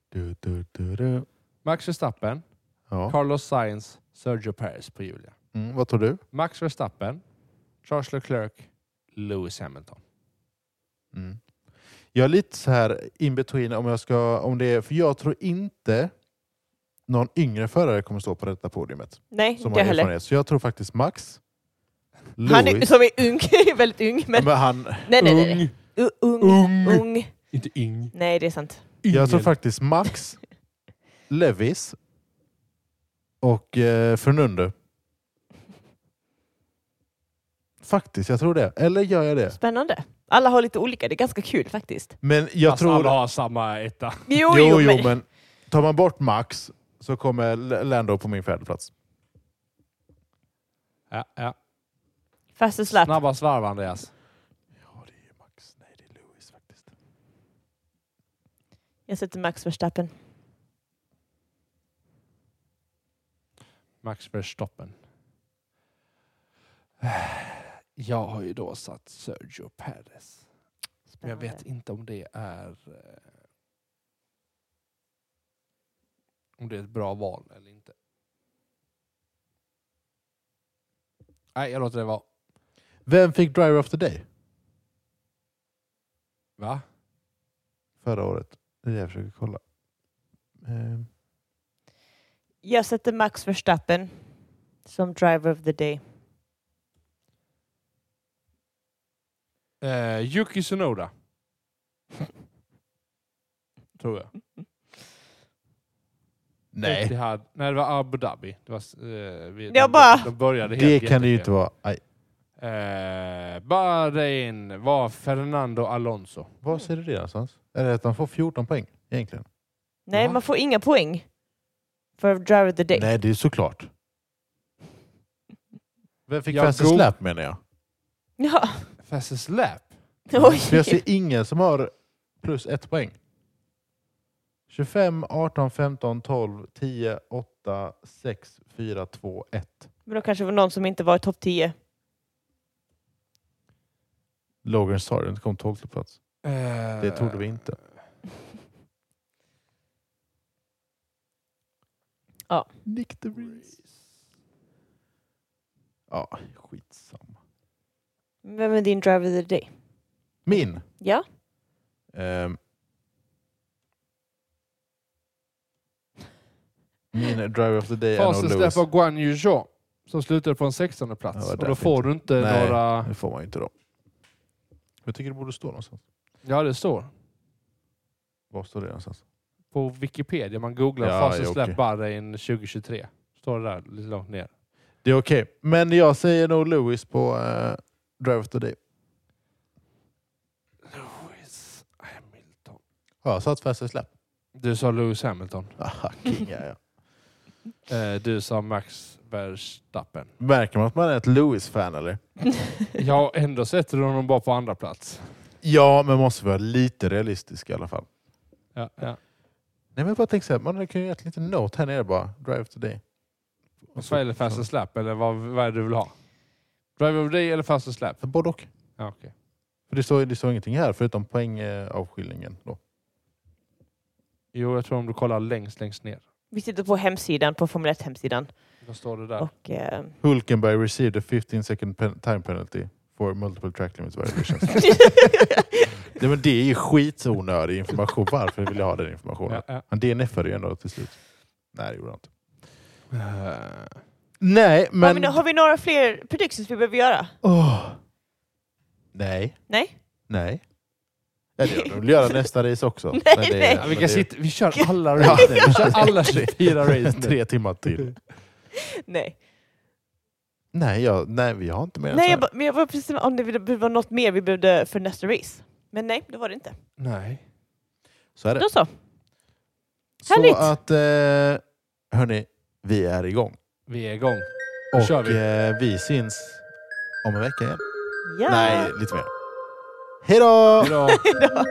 Du, du, du, du.
Max Verstappen,
Ja.
Carlos Sainz, Sergio Perez på Julia.
Mm, vad tror du?
Max Verstappen, Charles Leclerc, Lewis Hamilton.
Mm. Jag är lite så här in between om jag ska, om det är, för jag tror inte någon yngre förare kommer stå på detta podiumet.
Nej,
Som har
inte jag heller.
erfarenhet. Så jag tror faktiskt Max, Lewis,
Han är, som är ung, väldigt ung.
ja,
Men,
men han,
nej, nej, nej. nej. U- ung, ung,
Ung. Inte ing.
Nej, det är sant.
jag tror
Ingen.
faktiskt Max, Lewis och eh, Fernando. Faktiskt, jag tror det. Eller gör jag det?
Spännande. Alla har lite olika. Det är ganska kul faktiskt.
Men jag
Fast
tror...
alla har samma etta.
Jo,
Jo, jo,
men,
men... tar man bort Max så kommer L- Lando på min fjärde plats.
Ja, ja.
fastest lap.
Snabbast varv, Andreas.
Ja, det är Max. Nej, det är Lewis faktiskt.
Jag sätter Max Verstappen.
Max Verstappen. Jag har ju då satt Sergio Perez. Men jag
Spännande.
vet inte om det är eh, om det är ett bra val eller inte. Nej, jag låter det vara.
Vem fick Driver of the Day
Va?
förra året? Det är det jag försöker kolla. Eh,
Jag sätter Max Verstappen som driver of the day.
Eh, Yuki Tsunoda. Tror jag.
nej,
Etihad. Nej, det var Abu Dhabi. Det var, eh, vi,
Jag bara-
de började
det
helt
kan det ju
jättefel.
inte vara. Aj.
Eh, Bahrain var Fernando Alonso.
Var ser du det någonstans? Är det att han får 14 poäng egentligen?
Nej,
Va?
man får inga poäng för driver of the day.
Nej, det är såklart. Vem fick
Jag
Francis
go-
Lap menar jag?
Ja.
Fastest lap.
Oj.
För jag ser ingen som har plus ett poäng. 25, 18, 15, 12, 10, 8, 6, 4, 2, 1.
Men då kanske det var någon som inte var i topp 10.
Logan Sargent kom 12 plats. Det trodde vi inte.
Ja.
Nick the Breeze. Ja, skitsamma.
Vem är din driver of the day?
Min.
Ja.
ehm, min driver of the day är nog
Fastest lap
Lewis.
var Guan Yu Zhou som slutade på en 16 plats.
Ja,
och
det
då
är
får
fint.
du inte
Nej.
några...
Det får man ju inte då. Jag tycker det borde stå någonstans.
Ja, det står.
Var står det någonstans?
På Wikipedia, man googlar
Ja,
fastest
ja, okej.
lap Bahrain 2023. Står det där lite långt ner.
Det är okej. Men jag säger nog Lewis på eh, driver of the day.
Lewis Hamilton.
Har jag satt fastest släpp?
Du sa Lewis Hamilton.
Aha, king är jag.
Eh, du sa Max Verstappen.
Märker man att man är ett Lewis-fan eller?
Ja, ändå sätter du honom bara på andra plats.
Ja, men måste vara lite realistisk i alla fall.
Ja, ja.
Nej, men jag bara tänker så här, man kan ju göra ett litet note här nere bara. Drive of the day. Och så-
Vad är det fastest lap eller vad, vad är det du vill ha? Drive of the day eller fastest lap?
så- Både och.
Ja, okej.
För det står, det står ingenting här förutom poängavskiljningen. Då.
Jo, jag tror om du kollar längst, längst ner.
Vi sitter på hemsidan, på Formel 1 hemsidan.
Då står det där.
Och, eh,
Hulkenberg received a 15 second pen- time penalty for multiple track limits violations. Nej, men det är ju skitonödig information. Varför vill jag ha den informationen?
Ja, ja.
Han DNFade ju ändå till slut. Nej, det gjorde han inte.
Eh,
Nej,
har,
men...
vi, har vi några fler predictions vi behöver göra?
Åh. Nej,
Nej?
nej. Ja, det gör de. vill göra nästa race också.
Nej,
Men det,
nej.
men
Ja, vi, kan
det-
sitta, vi kör alla
Ja,
race.
nej, vi kör
alla 24 race nu.
Tre timmar till.
Nej.
Nej, jag, nej, vi har inte mer än
Nej,
så
jag,
här.
bara- men jag var precis om det behövde- var något mer vi behövde för nästa race. Men nej, det var det inte.
Nej.
Så är det.
Då så.
Så
härligt.
att, eh, hörni, vi är igång.
Vi är igång. Nu kör
Och
vi.
eh, vi syns om en vecka igen.
Ja.
Nej, lite mer. Hej då!
Hejdå.